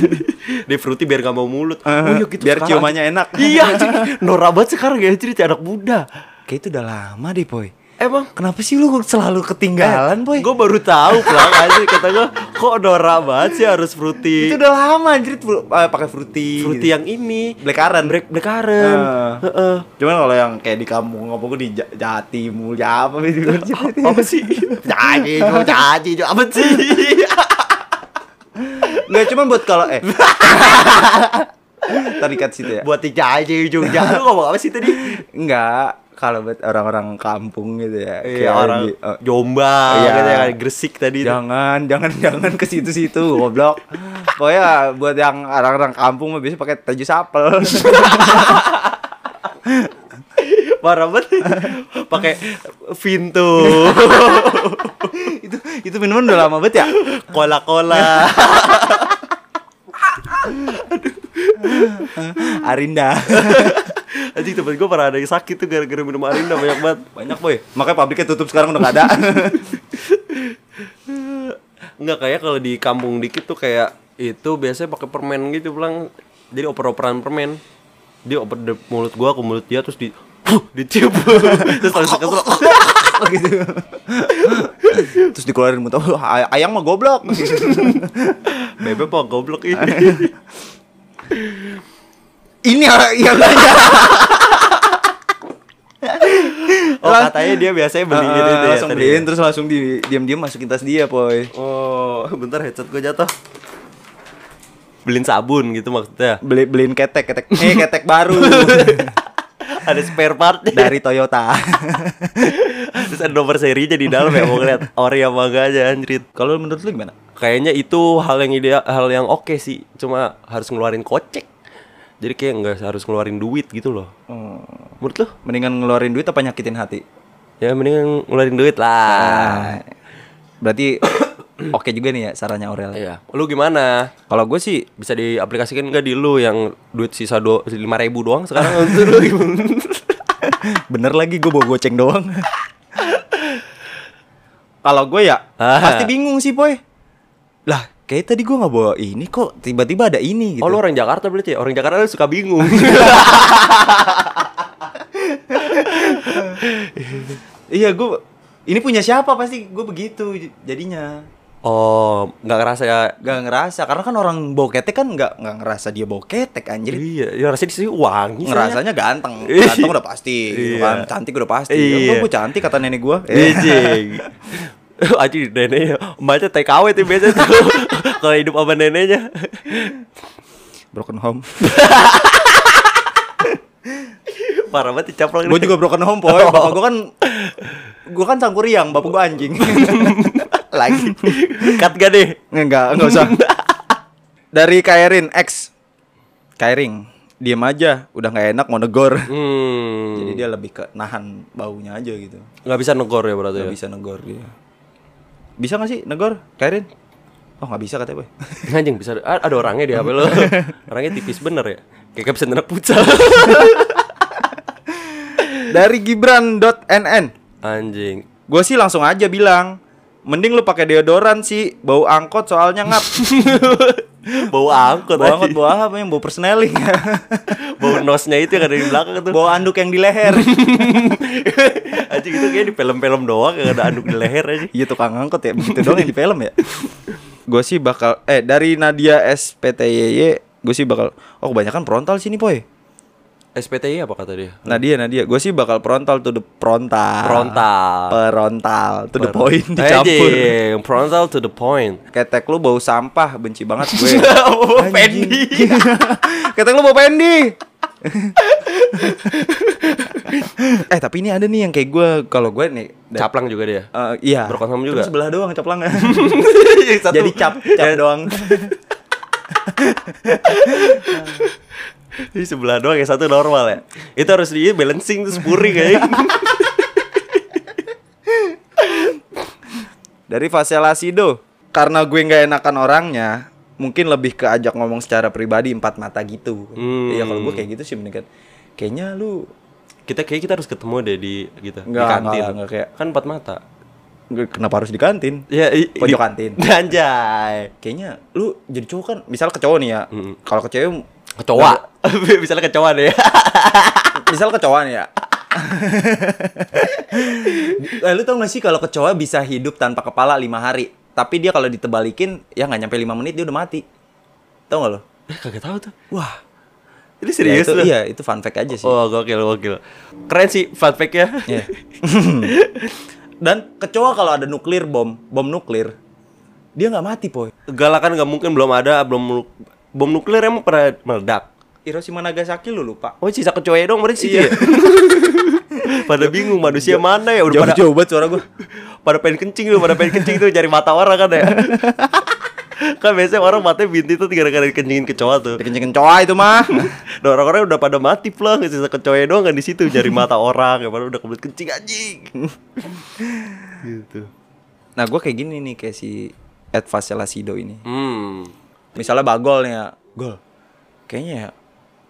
[SPEAKER 1] Di fruity biar gak mau mulut. Oh, iya gitu
[SPEAKER 2] Eh, biar
[SPEAKER 1] sekarang.
[SPEAKER 2] ciumannya enak.
[SPEAKER 1] Iya, anjing. Norak banget sekarang ya cerita anak muda.
[SPEAKER 2] Kayak itu udah lama deh, Boy.
[SPEAKER 1] Emang
[SPEAKER 2] Kenapa sih lu selalu ketinggalan, Boy?
[SPEAKER 1] Gue baru tahu pelang aja kata gue kok norak banget sih harus fruity.
[SPEAKER 2] Itu udah lama anjir fru- eh, pakai fruity. gitu. ya.
[SPEAKER 1] fruity yang ini.
[SPEAKER 2] Black currant.
[SPEAKER 1] Black Black Karen.
[SPEAKER 2] Eh.
[SPEAKER 1] Heeh.
[SPEAKER 2] Cuman kalau yang kayak di kampung apa gue di Ja- Jati Mulia apa gitu.
[SPEAKER 1] Apa sih?
[SPEAKER 2] Jati, Jati, apa sih? Enggak cuman buat kalau eh. Tadi cut situ ya.
[SPEAKER 1] Buat dicaci ujung jalan lu ngomong apa sih tadi?
[SPEAKER 2] Enggak, kalau buat orang-orang kampung gitu
[SPEAKER 1] Iya
[SPEAKER 2] ya. kayak
[SPEAKER 1] orang
[SPEAKER 2] di- eh,
[SPEAKER 1] Jombang
[SPEAKER 2] Iya.
[SPEAKER 1] gitu ya kan, Gresik tadi itu.
[SPEAKER 2] jangan, jangan, jangan ke situ-situ, goblok. Pokoknya buat yang orang-orang kampung mah biasanya pakai taju sapel.
[SPEAKER 1] Parah banget Pakai pintu
[SPEAKER 2] itu itu minuman udah lama banget ya.
[SPEAKER 1] Kola-kola
[SPEAKER 2] Arinda.
[SPEAKER 1] Anjing tempat gue pernah ada yang sakit tuh Gara-gara minum arinda banyak banget
[SPEAKER 2] Banyak boy. Makanya pabriknya tutup sekarang udah gak ada.
[SPEAKER 1] Enggak kayak kalau di kampung dikit tuh kayak Itu biasanya pakai permen gitu pulang Jadi oper-operan permen Dia oper dari mulut gua ke mulut dia Terus di ditiup Terus langsung kesel
[SPEAKER 2] gitu. Terus dikeluarin muntah. "Wah, ay- Ayang mah goblok.
[SPEAKER 1] Bebe apa goblok ini
[SPEAKER 2] Ini yang banyak.
[SPEAKER 1] Oh katanya dia biasanya beliin
[SPEAKER 2] gitu
[SPEAKER 1] itu ya
[SPEAKER 2] langsung
[SPEAKER 1] tadi.
[SPEAKER 2] beliin terus langsung di diam-diam masukin tas dia, boy.
[SPEAKER 1] Oh, bentar headset gue jatuh. Beliin sabun gitu maksudnya.
[SPEAKER 2] Beli beliin ketek, ketek. Eh, ketek baru
[SPEAKER 1] ada spare part
[SPEAKER 2] dari Toyota.
[SPEAKER 1] Terus ada nomor serinya di dalam ya mau ngeliat ori apa enggak aja anjrit.
[SPEAKER 2] Kalau menurut lu gimana?
[SPEAKER 1] Kayaknya itu hal yang ideal, hal yang oke sih. Cuma harus ngeluarin kocek. Jadi kayak nggak harus ngeluarin duit gitu loh. Menurut lo?
[SPEAKER 2] Hmm, Mendingan ngeluarin duit apa nyakitin hati?
[SPEAKER 1] Ya mendingan ngeluarin duit lah.
[SPEAKER 2] Ah. Berarti oke juga nih ya sarannya Aurel.
[SPEAKER 1] Iya. Lu gimana?
[SPEAKER 2] Kalau gue sih
[SPEAKER 1] Bisa diaplikasikan nggak di lu yang duit sisa do lima ribu doang sekarang? Menurut lu gimana?
[SPEAKER 2] Bener lagi gue bawa goceng doang. Kalau gue ya
[SPEAKER 1] Ah.
[SPEAKER 2] pasti bingung sih boy. Lah kayak tadi gue nggak bawa ini kok tiba-tiba ada ini gitu.
[SPEAKER 1] Oh lu orang Jakarta berarti ya? Orang Jakarta lu suka bingung
[SPEAKER 2] Iya gue ini punya siapa pasti gue begitu j- jadinya.
[SPEAKER 1] Oh nggak ngerasa ya
[SPEAKER 2] Gak ngerasa karena kan orang bawa ketek kan nggak nggak ngerasa dia bawa ketek anjir.
[SPEAKER 1] Iya ya rasanya di sini wangi saya.
[SPEAKER 2] Ngerasanya ganteng, ganteng udah pasti, gitu
[SPEAKER 1] Iya.
[SPEAKER 2] kan. cantik udah pasti.
[SPEAKER 1] Iya.
[SPEAKER 2] Emang gue cantik kata nenek Eh, gue.
[SPEAKER 1] Ijing Iya, Aji neneknya Mbaknya TKW tuh biasanya tuh Kalau hidup sama neneknya
[SPEAKER 2] broken home.
[SPEAKER 1] Parah banget dicaplok
[SPEAKER 2] gue juga broken home
[SPEAKER 1] Oh.
[SPEAKER 2] boy bapak gue kan gue kan sangkuriang bapak gue anjing lagi
[SPEAKER 1] Cut gak deh
[SPEAKER 2] enggak enggak usah dari Kairin X Kairing diem aja udah nggak enak mau negor
[SPEAKER 1] Hmm
[SPEAKER 2] jadi dia lebih ke nahan baunya aja gitu Iya.
[SPEAKER 1] Gak bisa negor ya berarti
[SPEAKER 2] nggak
[SPEAKER 1] ya?
[SPEAKER 2] bisa negor dia bisa nggak sih negor Kairin oh nggak bisa katanya boy
[SPEAKER 1] Anjing bisa a- ada orangnya di HP lo. Orangnya tipis bener ya. Kayak bisa nendang futsal.
[SPEAKER 2] dari gibran.nn
[SPEAKER 1] Anjing.
[SPEAKER 2] gue sih langsung aja bilang mending lu pakai deodoran sih bau angkot soalnya ngap
[SPEAKER 1] Bau angkot
[SPEAKER 2] bau angkot
[SPEAKER 1] anjing.
[SPEAKER 2] bau apa yang bau persneling
[SPEAKER 1] Bau nosnya itu yang ada di belakang tuh.
[SPEAKER 2] bau anduk yang di leher
[SPEAKER 1] anjing itu kayak di film-film doang yang ada anduk di leher aja.
[SPEAKER 2] Iya tukang angkot ya begitu doang yang di film ya. gue sih bakal eh dari Nadia SPTYY gue sih bakal oh kebanyakan frontal sini poy.
[SPEAKER 1] SPTI apa kata dia?
[SPEAKER 2] Nadia Nadia gue sih bakal frontal to the frontal.
[SPEAKER 1] Frontal.
[SPEAKER 2] Perontal Ah. to the point
[SPEAKER 1] Anjing,
[SPEAKER 2] dicampur.
[SPEAKER 1] Frontal to the point.
[SPEAKER 2] Ketek lu bau sampah benci banget gue.
[SPEAKER 1] Bau
[SPEAKER 2] Anjing.
[SPEAKER 1] pendi.
[SPEAKER 2] Ketek lu bau pendi. eh tapi ini ada nih yang kayak gue kalau gue nih da-
[SPEAKER 1] Caplang juga dia.
[SPEAKER 2] eh, iya
[SPEAKER 1] Berkonsom
[SPEAKER 2] Cuma
[SPEAKER 1] juga.
[SPEAKER 2] sebelah doang caplang
[SPEAKER 1] Yang satu.
[SPEAKER 2] jadi cap cap doang
[SPEAKER 1] Di sebelah doang yang satu normal ya. Itu harus di balancing tuh spuring kayaknya.
[SPEAKER 2] Dari Vasela Sido Karena gue nggak enakan orangnya Mungkin lebih ke ajak ngomong secara pribadi empat mata gitu
[SPEAKER 1] Hmm.
[SPEAKER 2] Iya kalau gue kayak gitu sih mendingan Kayaknya lu
[SPEAKER 1] kita kayak kita harus ketemu deh di gitu
[SPEAKER 2] Nggak,
[SPEAKER 1] di kantin.
[SPEAKER 2] nggak, nggak, kayak-
[SPEAKER 1] Kan empat mata.
[SPEAKER 2] gue Kenapa harus di kantin?
[SPEAKER 1] Ya, i- i-
[SPEAKER 2] Pojok kantin.
[SPEAKER 1] Anjay.
[SPEAKER 2] Kayaknya lu jadi cowok kan Misal ke cowok nih ya Kalau ke cewek
[SPEAKER 1] Kecoa. Misalnya kecoa deh.
[SPEAKER 2] Misal ke cowok nih ya eh, Lu tau gak sih kalau ke cowok bisa hidup tanpa kepala lima hari Tapi dia kalau ditebalikin Ya nggak nyampe lima menit dia udah mati Tau gak lo?
[SPEAKER 1] Eh, Kagak tahu tuh.
[SPEAKER 2] Wah
[SPEAKER 1] Ini
[SPEAKER 2] Ya,
[SPEAKER 1] serius
[SPEAKER 2] itu,
[SPEAKER 1] loh.
[SPEAKER 2] iya itu fun fact aja sih
[SPEAKER 1] Oh, gokil gokil. Keren sih fun ya. fact-nya.
[SPEAKER 2] Iya. Dan kecoa kalau ada nuklir bom, bom nuklir, dia nggak mati, Poy.
[SPEAKER 1] Galakan kan nggak mungkin belum ada belum nu- bom nuklir emang pernah meledak.
[SPEAKER 2] Hiroshima Nagasaki lu lupa.
[SPEAKER 1] Oh, sisa kecoa dong berarti sih.
[SPEAKER 2] Iya.
[SPEAKER 1] ya? pada bingung manusia mana ya udah pada
[SPEAKER 2] Jauh-jauh banget suara gua.
[SPEAKER 1] pada pengen kencing lu, pada pengen kencing tuh cari mata orang kan ya. kan biasanya orang matanya binti tuh gara-gara dikencingin kecoa tuh.
[SPEAKER 2] Dikencengin kecoa itu mah.
[SPEAKER 1] Nah orang-orang udah pada mati pelang sisa kecoa doang kan di situ cari mata orang, ya padahal udah kebelet kencing anjing. gitu.
[SPEAKER 2] nah, gua kayak gini nih kayak si Ed Vasela Sido ini.
[SPEAKER 1] Hmm.
[SPEAKER 2] Misalnya Bagol nih ya, gol. Kayaknya ya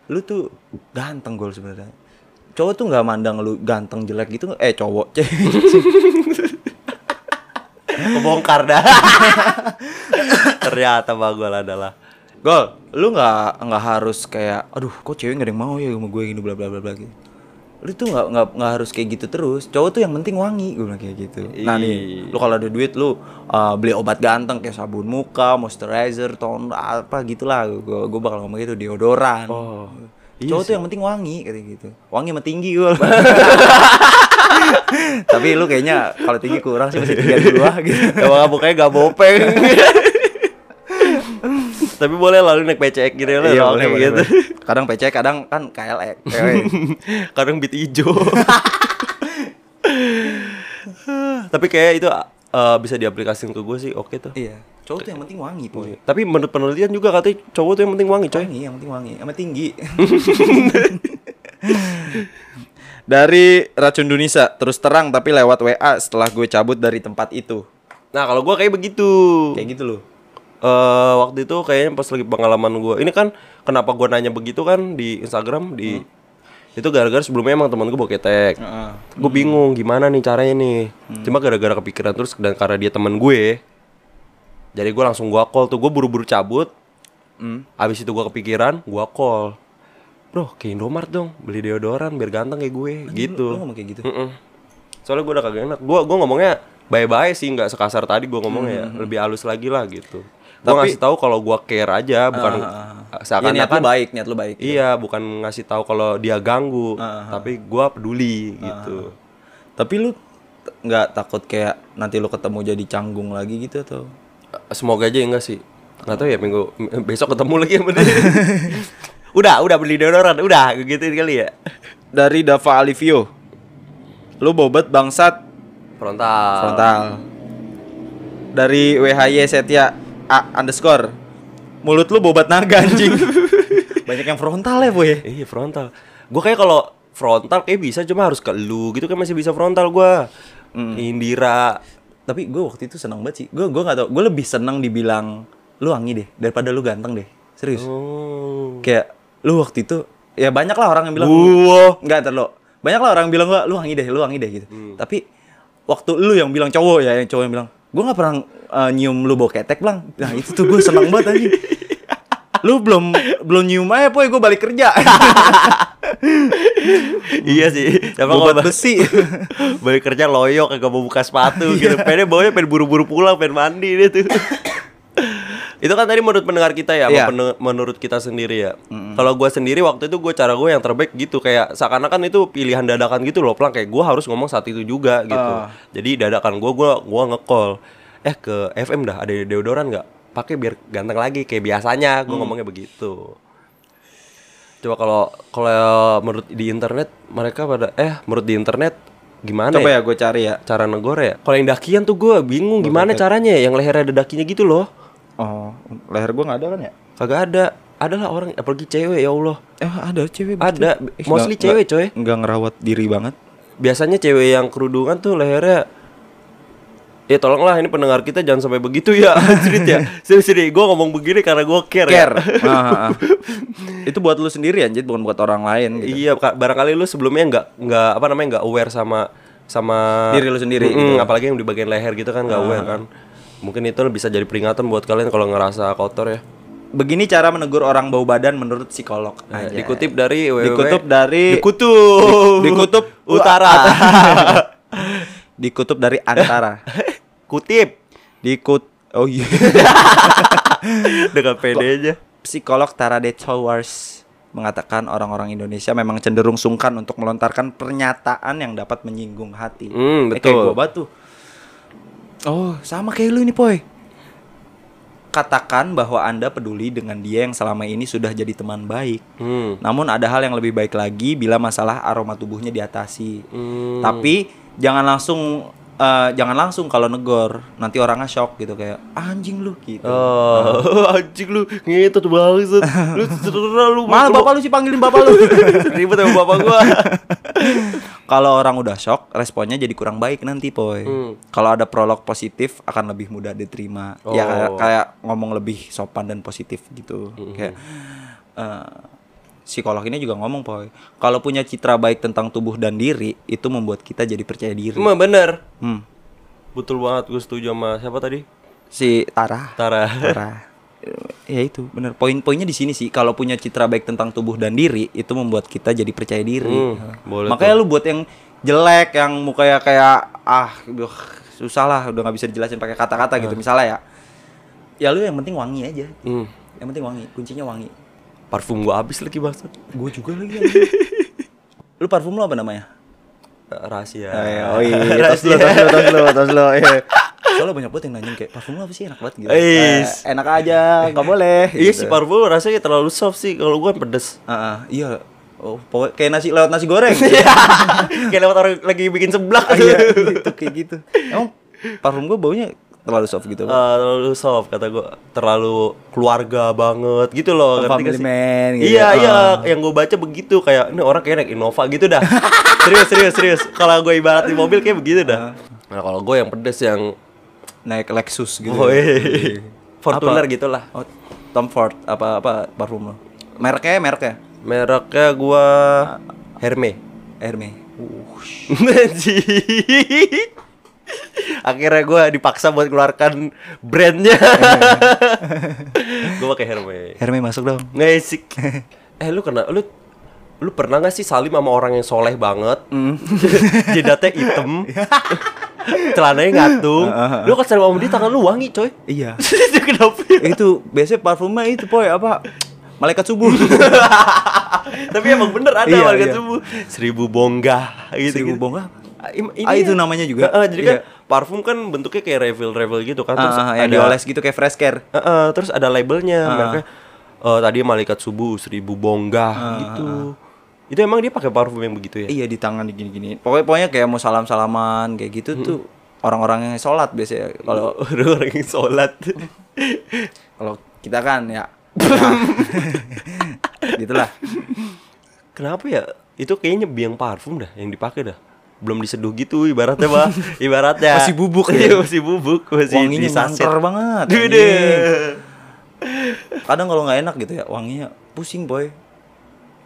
[SPEAKER 2] lu tuh ganteng gol sebenarnya. Cowok tuh nggak mandang lu ganteng jelek gitu eh cowok.
[SPEAKER 1] Kebongkar dah. Ternyata Bagol adalah
[SPEAKER 2] Gol, lu nggak nggak harus kayak, aduh, kok cewek nggak ada yang mau ya sama gue gini bla bla bla bla gitu. Lu tuh nggak nggak nggak harus kayak gitu terus. Cowok tuh yang penting wangi, gue bilang kayak gitu. Nah nih, lu kalau ada duit lu uh, beli obat ganteng kayak sabun muka, moisturizer, toner apa gitulah. Gue gue bakal ngomong gitu deodoran. cowok tuh yang penting wangi kayak gitu. Wangi sama tinggi gue. Tapi lu kayaknya kalau tinggi kurang sih masih tiga di bawah gitu.
[SPEAKER 1] Emang mukanya gak bopeng Tapi boleh lalu naik becek gitu lah
[SPEAKER 2] Iya,
[SPEAKER 1] orang
[SPEAKER 2] boleh,
[SPEAKER 1] kayak
[SPEAKER 2] boleh,
[SPEAKER 1] gitu.
[SPEAKER 2] boleh. Kadang PC, kadang kan KLE. cewek.
[SPEAKER 1] Kadang beat hijau Tapi kayak itu eh, bisa diaplikasikan ke gue sih oke tuh
[SPEAKER 2] Iya. Cowok tuh yang penting wangi, Poy.
[SPEAKER 1] Tapi menurut penelitian juga katanya cowok tuh yang penting wangi coy
[SPEAKER 2] Wangi, yang penting wangi. Sama tinggi. dari racun Dunisa terus terang tapi lewat WA setelah gue cabut dari tempat itu.
[SPEAKER 1] Nah kalau gue kayak begitu
[SPEAKER 2] Kayak gitu loh.
[SPEAKER 1] eh waktu itu kayaknya pas lagi pengalaman gue ini kan kenapa gue nanya begitu kan di Instagram di
[SPEAKER 2] Hmm.
[SPEAKER 1] itu gara-gara sebelumnya emang teman gue boketek gue bingung gimana nih caranya nih
[SPEAKER 2] Hmm.
[SPEAKER 1] cuma gara-gara kepikiran terus dan karena dia teman gue jadi gue langsung gua call tuh gue buru-buru cabut
[SPEAKER 2] Hmm,
[SPEAKER 1] abis itu gue kepikiran gua call bro ke Indomaret dong beli deodoran biar ganteng kayak gue gitu
[SPEAKER 2] Lu ngomong kayak gitu.
[SPEAKER 1] Mm-mm. soalnya gue udah kagak enak gue gua ngomongnya bye-bye sih nggak sekasar tadi gue ngomongnya ya lebih halus lagi lah gitu gue ngasih tahu kalau gue care aja bukan ah,
[SPEAKER 2] Iya, niat lu
[SPEAKER 1] seakan-akan
[SPEAKER 2] baik, niat lu baik.
[SPEAKER 1] iya bukan ngasih tahu kalau dia ganggu tapi gue peduli gitu
[SPEAKER 2] Ah, Tapi lu t- nggak takut kayak nanti lu ketemu jadi canggung lagi gitu atau?
[SPEAKER 1] Eh, semoga aja enggak sih nggak tahu ya minggu m- besok ketemu lagi sama dia udah udah beli deodoran udah gitu kali ya
[SPEAKER 2] Dari Dava Alivio. Lu bobot bangsat
[SPEAKER 1] frontal
[SPEAKER 2] frontal dari WHY Setia A underscore mulut lu bobat naga anjing banyak yang frontal ya boy
[SPEAKER 1] iya frontal gue kayak kalau eh, Hmm. frontal kayak bisa cuma harus ke lu gitu kan masih bisa frontal gue Indira
[SPEAKER 2] tapi gue waktu itu senang banget sih gue gue nggak tau gue lebih senang dibilang lu wangi deh daripada lu ganteng deh serius
[SPEAKER 1] Oh.
[SPEAKER 2] kayak lu waktu itu ya banyak lah orang yang bilang
[SPEAKER 1] Wah.
[SPEAKER 2] nggak terlalu banyak lah orang yang bilang gua lu wangi deh lu wangi deh gitu tapi waktu lu yang bilang cowok ya yang cowok yang bilang gua nggak pernah uh, nyium lu bau ketek blang nah itu tuh gue senang banget aja lu belum belum nyium aja poy gue balik kerja
[SPEAKER 1] iya sih. Siapa
[SPEAKER 2] Bobat
[SPEAKER 1] kalau-
[SPEAKER 2] besi.
[SPEAKER 1] Balik kerja loyok kagak mau buka sepatu gitu. Pengen bawanya pengen buru-buru pulang, pengen mandi dia tuh. itu kan tadi menurut pendengar kita ya, sama
[SPEAKER 2] Iya.
[SPEAKER 1] pene- menurut kita sendiri ya. Kalau gua sendiri waktu itu gue cara gue yang terbaik gitu kayak seakan-akan itu pilihan dadakan gitu loh, pelang kayak gua harus ngomong saat itu juga gitu. Jadi dadakan gua gua gua ngekol. Eh ke FM dah ada deodoran nggak? Pakai biar ganteng lagi kayak biasanya. Gue ngomongnya begitu. Coba kalau kalau menurut di internet mereka pada eh menurut di internet gimana
[SPEAKER 2] coba
[SPEAKER 1] ya?
[SPEAKER 2] ya gue cari ya
[SPEAKER 1] cara negore ya? Kalau yang dakian tuh gue bingung gimana caranya ya? yang lehernya ada dakinya gitu loh.
[SPEAKER 2] oh leher gue nggak ada kan ya
[SPEAKER 1] Kagak ada. Adalah orang apalagi cewek ya Allah.
[SPEAKER 2] eh ada cewek
[SPEAKER 1] Ada mostly cewek coy.
[SPEAKER 2] nggak ngerawat diri banget
[SPEAKER 1] Biasanya cewek yang kerudungan tuh lehernya Ya tolonglah ini pendengar kita jangan sampai begitu ya Anjrit ya Serius-serius gue ngomong begini karena gue care, ya.
[SPEAKER 2] care Ah, ah, ah. itu buat lu sendiri anjir bukan buat orang lain gitu
[SPEAKER 1] Iya, ka- barangkali lu sebelumnya nggak nggak apa namanya nggak aware sama sama
[SPEAKER 2] Diri lu sendiri gitu. Ah.
[SPEAKER 1] Mm-mm, apalagi yang di bagian leher gitu kan nggak aware kan. Mungkin itu bisa jadi peringatan buat kalian kalau ngerasa kotor ya.
[SPEAKER 2] Begini cara menegur orang bau badan menurut psikolog.
[SPEAKER 1] Ya,
[SPEAKER 2] Anjay.
[SPEAKER 1] Dikutip dari www.
[SPEAKER 2] Dikutip dari-
[SPEAKER 1] Dikutub.
[SPEAKER 2] Dikutip
[SPEAKER 1] Utara.
[SPEAKER 2] Dikutip dari antara.
[SPEAKER 1] Kutip
[SPEAKER 2] Dikut Oh iya.
[SPEAKER 1] dengan pedenya.
[SPEAKER 2] psikolog Tara de Towers mengatakan orang-orang Indonesia memang cenderung sungkan untuk melontarkan pernyataan yang dapat menyinggung hati.
[SPEAKER 1] Hmm,
[SPEAKER 2] Eh, kayak
[SPEAKER 1] betul.
[SPEAKER 2] gua banget tuh. Oh, sama kayak lu ini, Poy. Katakan bahwa Anda peduli dengan dia yang selama ini sudah jadi teman baik.
[SPEAKER 1] Hmm.
[SPEAKER 2] Namun ada hal yang lebih baik lagi bila masalah aroma tubuhnya diatasi.
[SPEAKER 1] Hmm.
[SPEAKER 2] Tapi jangan langsung eh, jangan langsung kalau negor, nanti orangnya shock gitu kayak anjing lu gitu.
[SPEAKER 1] Oh, anjing lu ngetot banget. Lu terserah lu.
[SPEAKER 2] Malah bapak lu sih panggilin bapak lu.
[SPEAKER 1] ribet sama bapak gua.
[SPEAKER 2] kalau orang udah shock, responnya jadi kurang baik nanti, Poy.
[SPEAKER 1] Hmm.
[SPEAKER 2] Kalau ada prolog positif akan lebih mudah diterima.
[SPEAKER 1] Oh.
[SPEAKER 2] Ya kayak, kayak ngomong lebih sopan dan positif gitu.
[SPEAKER 1] Hmm.
[SPEAKER 2] Kayak eh, psikolog ini juga ngomong, Poy. Kalau punya citra baik tentang tubuh dan diri, itu membuat kita jadi percaya diri.
[SPEAKER 1] Emang bener.
[SPEAKER 2] Hmm.
[SPEAKER 1] Betul banget gue setuju sama siapa tadi?
[SPEAKER 2] Si Tara.
[SPEAKER 1] Tara.
[SPEAKER 2] Parah. ya itu bener poin-poinnya di sini sih kalau punya citra baik tentang tubuh dan diri itu membuat kita jadi percaya diri
[SPEAKER 1] Hmm, boleh
[SPEAKER 2] makanya lu buat yang jelek yang mukanya kayak ah duh, susah lah udah nggak bisa dijelasin pakai kata-kata gitu misalnya ya ya lu yang penting wangi aja
[SPEAKER 1] Hmm.
[SPEAKER 2] yang penting wangi kuncinya wangi
[SPEAKER 1] Parfum gua habis lagi banget.
[SPEAKER 2] gue juga lagi lu parfum lu apa namanya
[SPEAKER 1] Rahasia.
[SPEAKER 2] Eh, oh iya, tos lu, tos lu, tos lu, tos lu, iya. Soalnya banyak banget yang nanya kayak parfum lu apa sih enak banget gitu.
[SPEAKER 1] Eh,
[SPEAKER 2] Eh, enak aja, nggak boleh.
[SPEAKER 1] Iya
[SPEAKER 2] gitu.
[SPEAKER 1] sih parfum rasanya terlalu soft sih kalau gua kan pedes.
[SPEAKER 2] Ah, ah, iya. Oh, pokoknya kayak nasi lewat nasi goreng.
[SPEAKER 1] Kayak lewat orang lagi bikin seblak
[SPEAKER 2] Ah, iya, gitu kayak gitu. Emang parfum gue baunya terlalu soft gitu. Pak?
[SPEAKER 1] Eh, terlalu soft kata gua terlalu keluarga banget gitu loh
[SPEAKER 2] Oh,
[SPEAKER 1] ngerti gak
[SPEAKER 2] family
[SPEAKER 1] sih?
[SPEAKER 2] man gitu.
[SPEAKER 1] iya iya yang gue baca begitu kayak ini orang kayak naik Innova gitu dah serius serius serius kalau gue ibarat di mobil kayak begitu
[SPEAKER 2] Ah.
[SPEAKER 1] dah nah kalau gue yang pedes yang
[SPEAKER 2] Naik Lexus gitu.
[SPEAKER 1] boy Fortuner gitulah
[SPEAKER 2] Oh, Tom Ford apa apa parfum lo? Mereknya mereknya
[SPEAKER 1] mereknya gua Hermes
[SPEAKER 2] Hermes.
[SPEAKER 1] Anjing. Akhirnya gue dipaksa buat keluarkan brandnya.
[SPEAKER 2] Eh.
[SPEAKER 1] gue pakai Hermes.
[SPEAKER 2] Hermes masuk dong.
[SPEAKER 1] Ngesik. Eh lu kena lu lu pernah gak sih salim sama orang yang soleh banget?
[SPEAKER 2] Hmm.
[SPEAKER 1] Jidatnya hitam. Celananya ngatung. Lu kan salim sama dia tangan lu wangi, coy.
[SPEAKER 2] Iya.
[SPEAKER 1] Itu Kenapa? ya?
[SPEAKER 2] itu biasanya parfumnya itu poy apa? Malaikat subuh.
[SPEAKER 1] Tapi emang bener ada
[SPEAKER 2] Iya,
[SPEAKER 1] warga
[SPEAKER 2] iya.
[SPEAKER 1] subuh. Seribu bongga gitu.
[SPEAKER 2] Seribu
[SPEAKER 1] gitu.
[SPEAKER 2] bongga?
[SPEAKER 1] Ah, im-
[SPEAKER 2] Ah,
[SPEAKER 1] ini
[SPEAKER 2] itu
[SPEAKER 1] ya.
[SPEAKER 2] namanya juga.
[SPEAKER 1] Heeh, jadi kan
[SPEAKER 2] Iya.
[SPEAKER 1] parfum kan bentuknya kayak refill-refill gitu kan. Terus
[SPEAKER 2] Ah, yang
[SPEAKER 1] ada
[SPEAKER 2] dioles Ah. gitu kayak fresh care.
[SPEAKER 1] Heeh, terus ada labelnya mereknya. eh, tadi malaikat subuh seribu bongga
[SPEAKER 2] Ah,
[SPEAKER 1] gitu. Itu emang dia pakai parfum yang begitu ya?
[SPEAKER 2] Iya di tangan di gini-gini. Pokoknya pokoknya kayak mau salam-salaman kayak gitu tuh orang-orang yang sholat biasanya kalau
[SPEAKER 1] Kalau ada orang yang sholat
[SPEAKER 2] kalau kita kan ya ya. gitulah
[SPEAKER 1] Kenapa ya? Itu kayaknya biang parfum dah yang dipakai dah belum diseduh gitu ibaratnya bah ibaratnya
[SPEAKER 2] Masih bubuk
[SPEAKER 1] Iya,
[SPEAKER 2] ya?
[SPEAKER 1] masih bubuk masih
[SPEAKER 2] Wanginya
[SPEAKER 1] disaset.
[SPEAKER 2] nyangker banget,
[SPEAKER 1] Dude.
[SPEAKER 2] kadang kalau nggak enak gitu ya wanginya pusing boy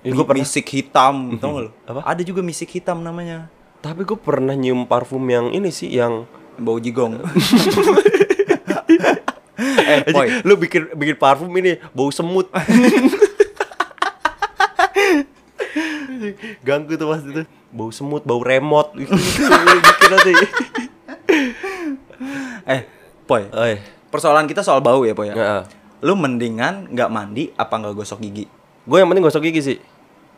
[SPEAKER 1] Ya,
[SPEAKER 2] Mi-
[SPEAKER 1] gua pernah- Mhm.
[SPEAKER 2] misik hitam tau nggak lu?
[SPEAKER 1] Apa?
[SPEAKER 2] ada juga misik hitam namanya
[SPEAKER 1] tapi gue pernah nyium parfum yang ini sih yang
[SPEAKER 2] bau jigong eh boy
[SPEAKER 1] Anjing, lu bikin bikin parfum ini bau semut Anjing, ganggu tuh pasti tuh bau semut bau remote Gitu, lu bikin nanti
[SPEAKER 2] eh boy
[SPEAKER 1] Oi.
[SPEAKER 2] persoalan kita soal bau ya boy ya
[SPEAKER 1] Heeh.
[SPEAKER 2] lu mendingan nggak mandi apa nggak gosok gigi
[SPEAKER 1] gue yang penting gosok gigi sih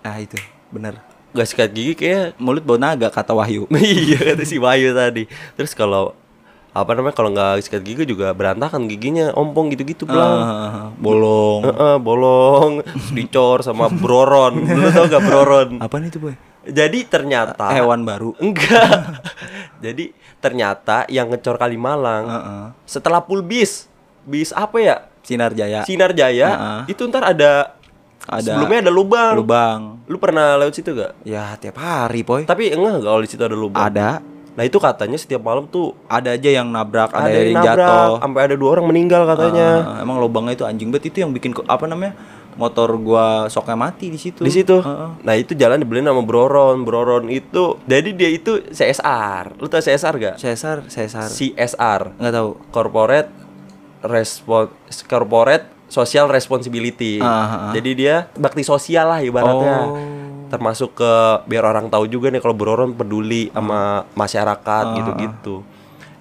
[SPEAKER 2] ah itu bener
[SPEAKER 1] gak sikat gigi kayak
[SPEAKER 2] mulut bau naga kata Wahyu
[SPEAKER 1] iya kata si Bayu tadi terus kalau apa namanya kalau nggak sikat gigi juga berantakan giginya ompong gitu-gitu belang
[SPEAKER 2] Ah, bolong
[SPEAKER 1] Heeh, bolong terus dicor sama broron lu tau gak broron
[SPEAKER 2] apa nih itu boy
[SPEAKER 1] jadi ternyata
[SPEAKER 2] hewan baru
[SPEAKER 1] Enggak. Jadi ternyata yang ngecor Kalimalang
[SPEAKER 2] Heeh.
[SPEAKER 1] setelah full bis, bis apa ya?
[SPEAKER 2] sinar jaya
[SPEAKER 1] Sinar Jaya.
[SPEAKER 2] Heeh.
[SPEAKER 1] Itu ntar ada,
[SPEAKER 2] Ah. Ada
[SPEAKER 1] sebelumnya ada lubang.
[SPEAKER 2] lubang
[SPEAKER 1] Lu pernah lewat situ gak?
[SPEAKER 2] ya tiap hari boy
[SPEAKER 1] Tapi enggak kalau di situ ada lubang.
[SPEAKER 2] ada
[SPEAKER 1] Nah itu katanya setiap malam tuh
[SPEAKER 2] ada aja yang nabrak ada,
[SPEAKER 1] ada, yang
[SPEAKER 2] yang,
[SPEAKER 1] nabrak,
[SPEAKER 2] jatuh
[SPEAKER 1] sampai ada dua orang meninggal katanya.
[SPEAKER 2] Ah, emang lubangnya itu anjing banget itu yang bikin ke- apa namanya motor gua soknya mati di situ
[SPEAKER 1] Di situ.
[SPEAKER 2] Heeh.
[SPEAKER 1] Nah itu jalan dibeliin sama Broron. Broron itu, jadi dia itu CSR. Lu tau CSR gak?
[SPEAKER 2] Cesar Cesar
[SPEAKER 1] CSR.
[SPEAKER 2] nggak tahu
[SPEAKER 1] corporate respon corporate social responsibility.
[SPEAKER 2] Ah, Oh. ah, ah.
[SPEAKER 1] Jadi dia bakti sosial lah ibaratnya. Termasuk ke biar orang tahu juga nih kalau Broron peduli
[SPEAKER 2] Ah.
[SPEAKER 1] sama masyarakat gitu-gitu.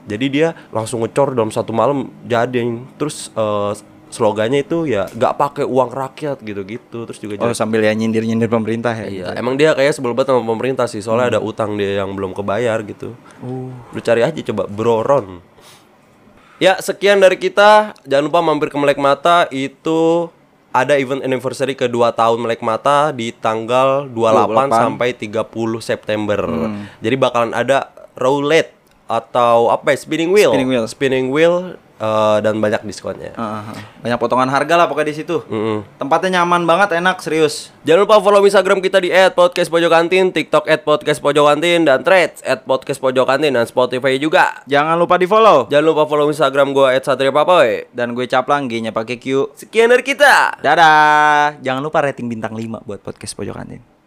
[SPEAKER 1] Jadi dia langsung ngecor dalam satu malam jading. Terus eh, slogannya itu ya nggak pakai uang rakyat gitu-gitu. Terus juga
[SPEAKER 2] oh sambil ya nyindir nyindir pemerintah ya
[SPEAKER 1] Iya, emang dia kayak sebel banget sama pemerintah sih, soalnya
[SPEAKER 2] Hmm.
[SPEAKER 1] ada utang dia yang belum kebayar gitu.
[SPEAKER 2] Uh.
[SPEAKER 1] Lu cari aja coba Broron. Ya, sekian dari kita. Jangan lupa mampir ke Melek Mata itu ada event anniversary kedua tahun Melek Mata di tanggal 28, sampai 30 September.
[SPEAKER 2] Hmm.
[SPEAKER 1] Jadi bakalan ada roulette atau apa ya, spinning wheel.
[SPEAKER 2] Spinning wheel.
[SPEAKER 1] Spinning wheel, eh, dan banyak diskonnya.
[SPEAKER 2] Ah, ah, ah. banyak potongan harga lah pokoknya di situ
[SPEAKER 1] Mm-mm.
[SPEAKER 2] tempatnya nyaman banget enak serius
[SPEAKER 1] Jangan lupa follow Instagram kita di @podcastpojokantin, TikTok @podcastpojokantin dan Threads @podcastpojokantin dan Spotify juga.
[SPEAKER 2] jangan lupa di follow
[SPEAKER 1] Jangan lupa follow Instagram gua @satriapapoy.
[SPEAKER 2] dan gue caplang G nya pakai Q
[SPEAKER 1] Sekian dari kita.
[SPEAKER 2] dadah jangan lupa rating bintang 5 buat podcast pojok kantin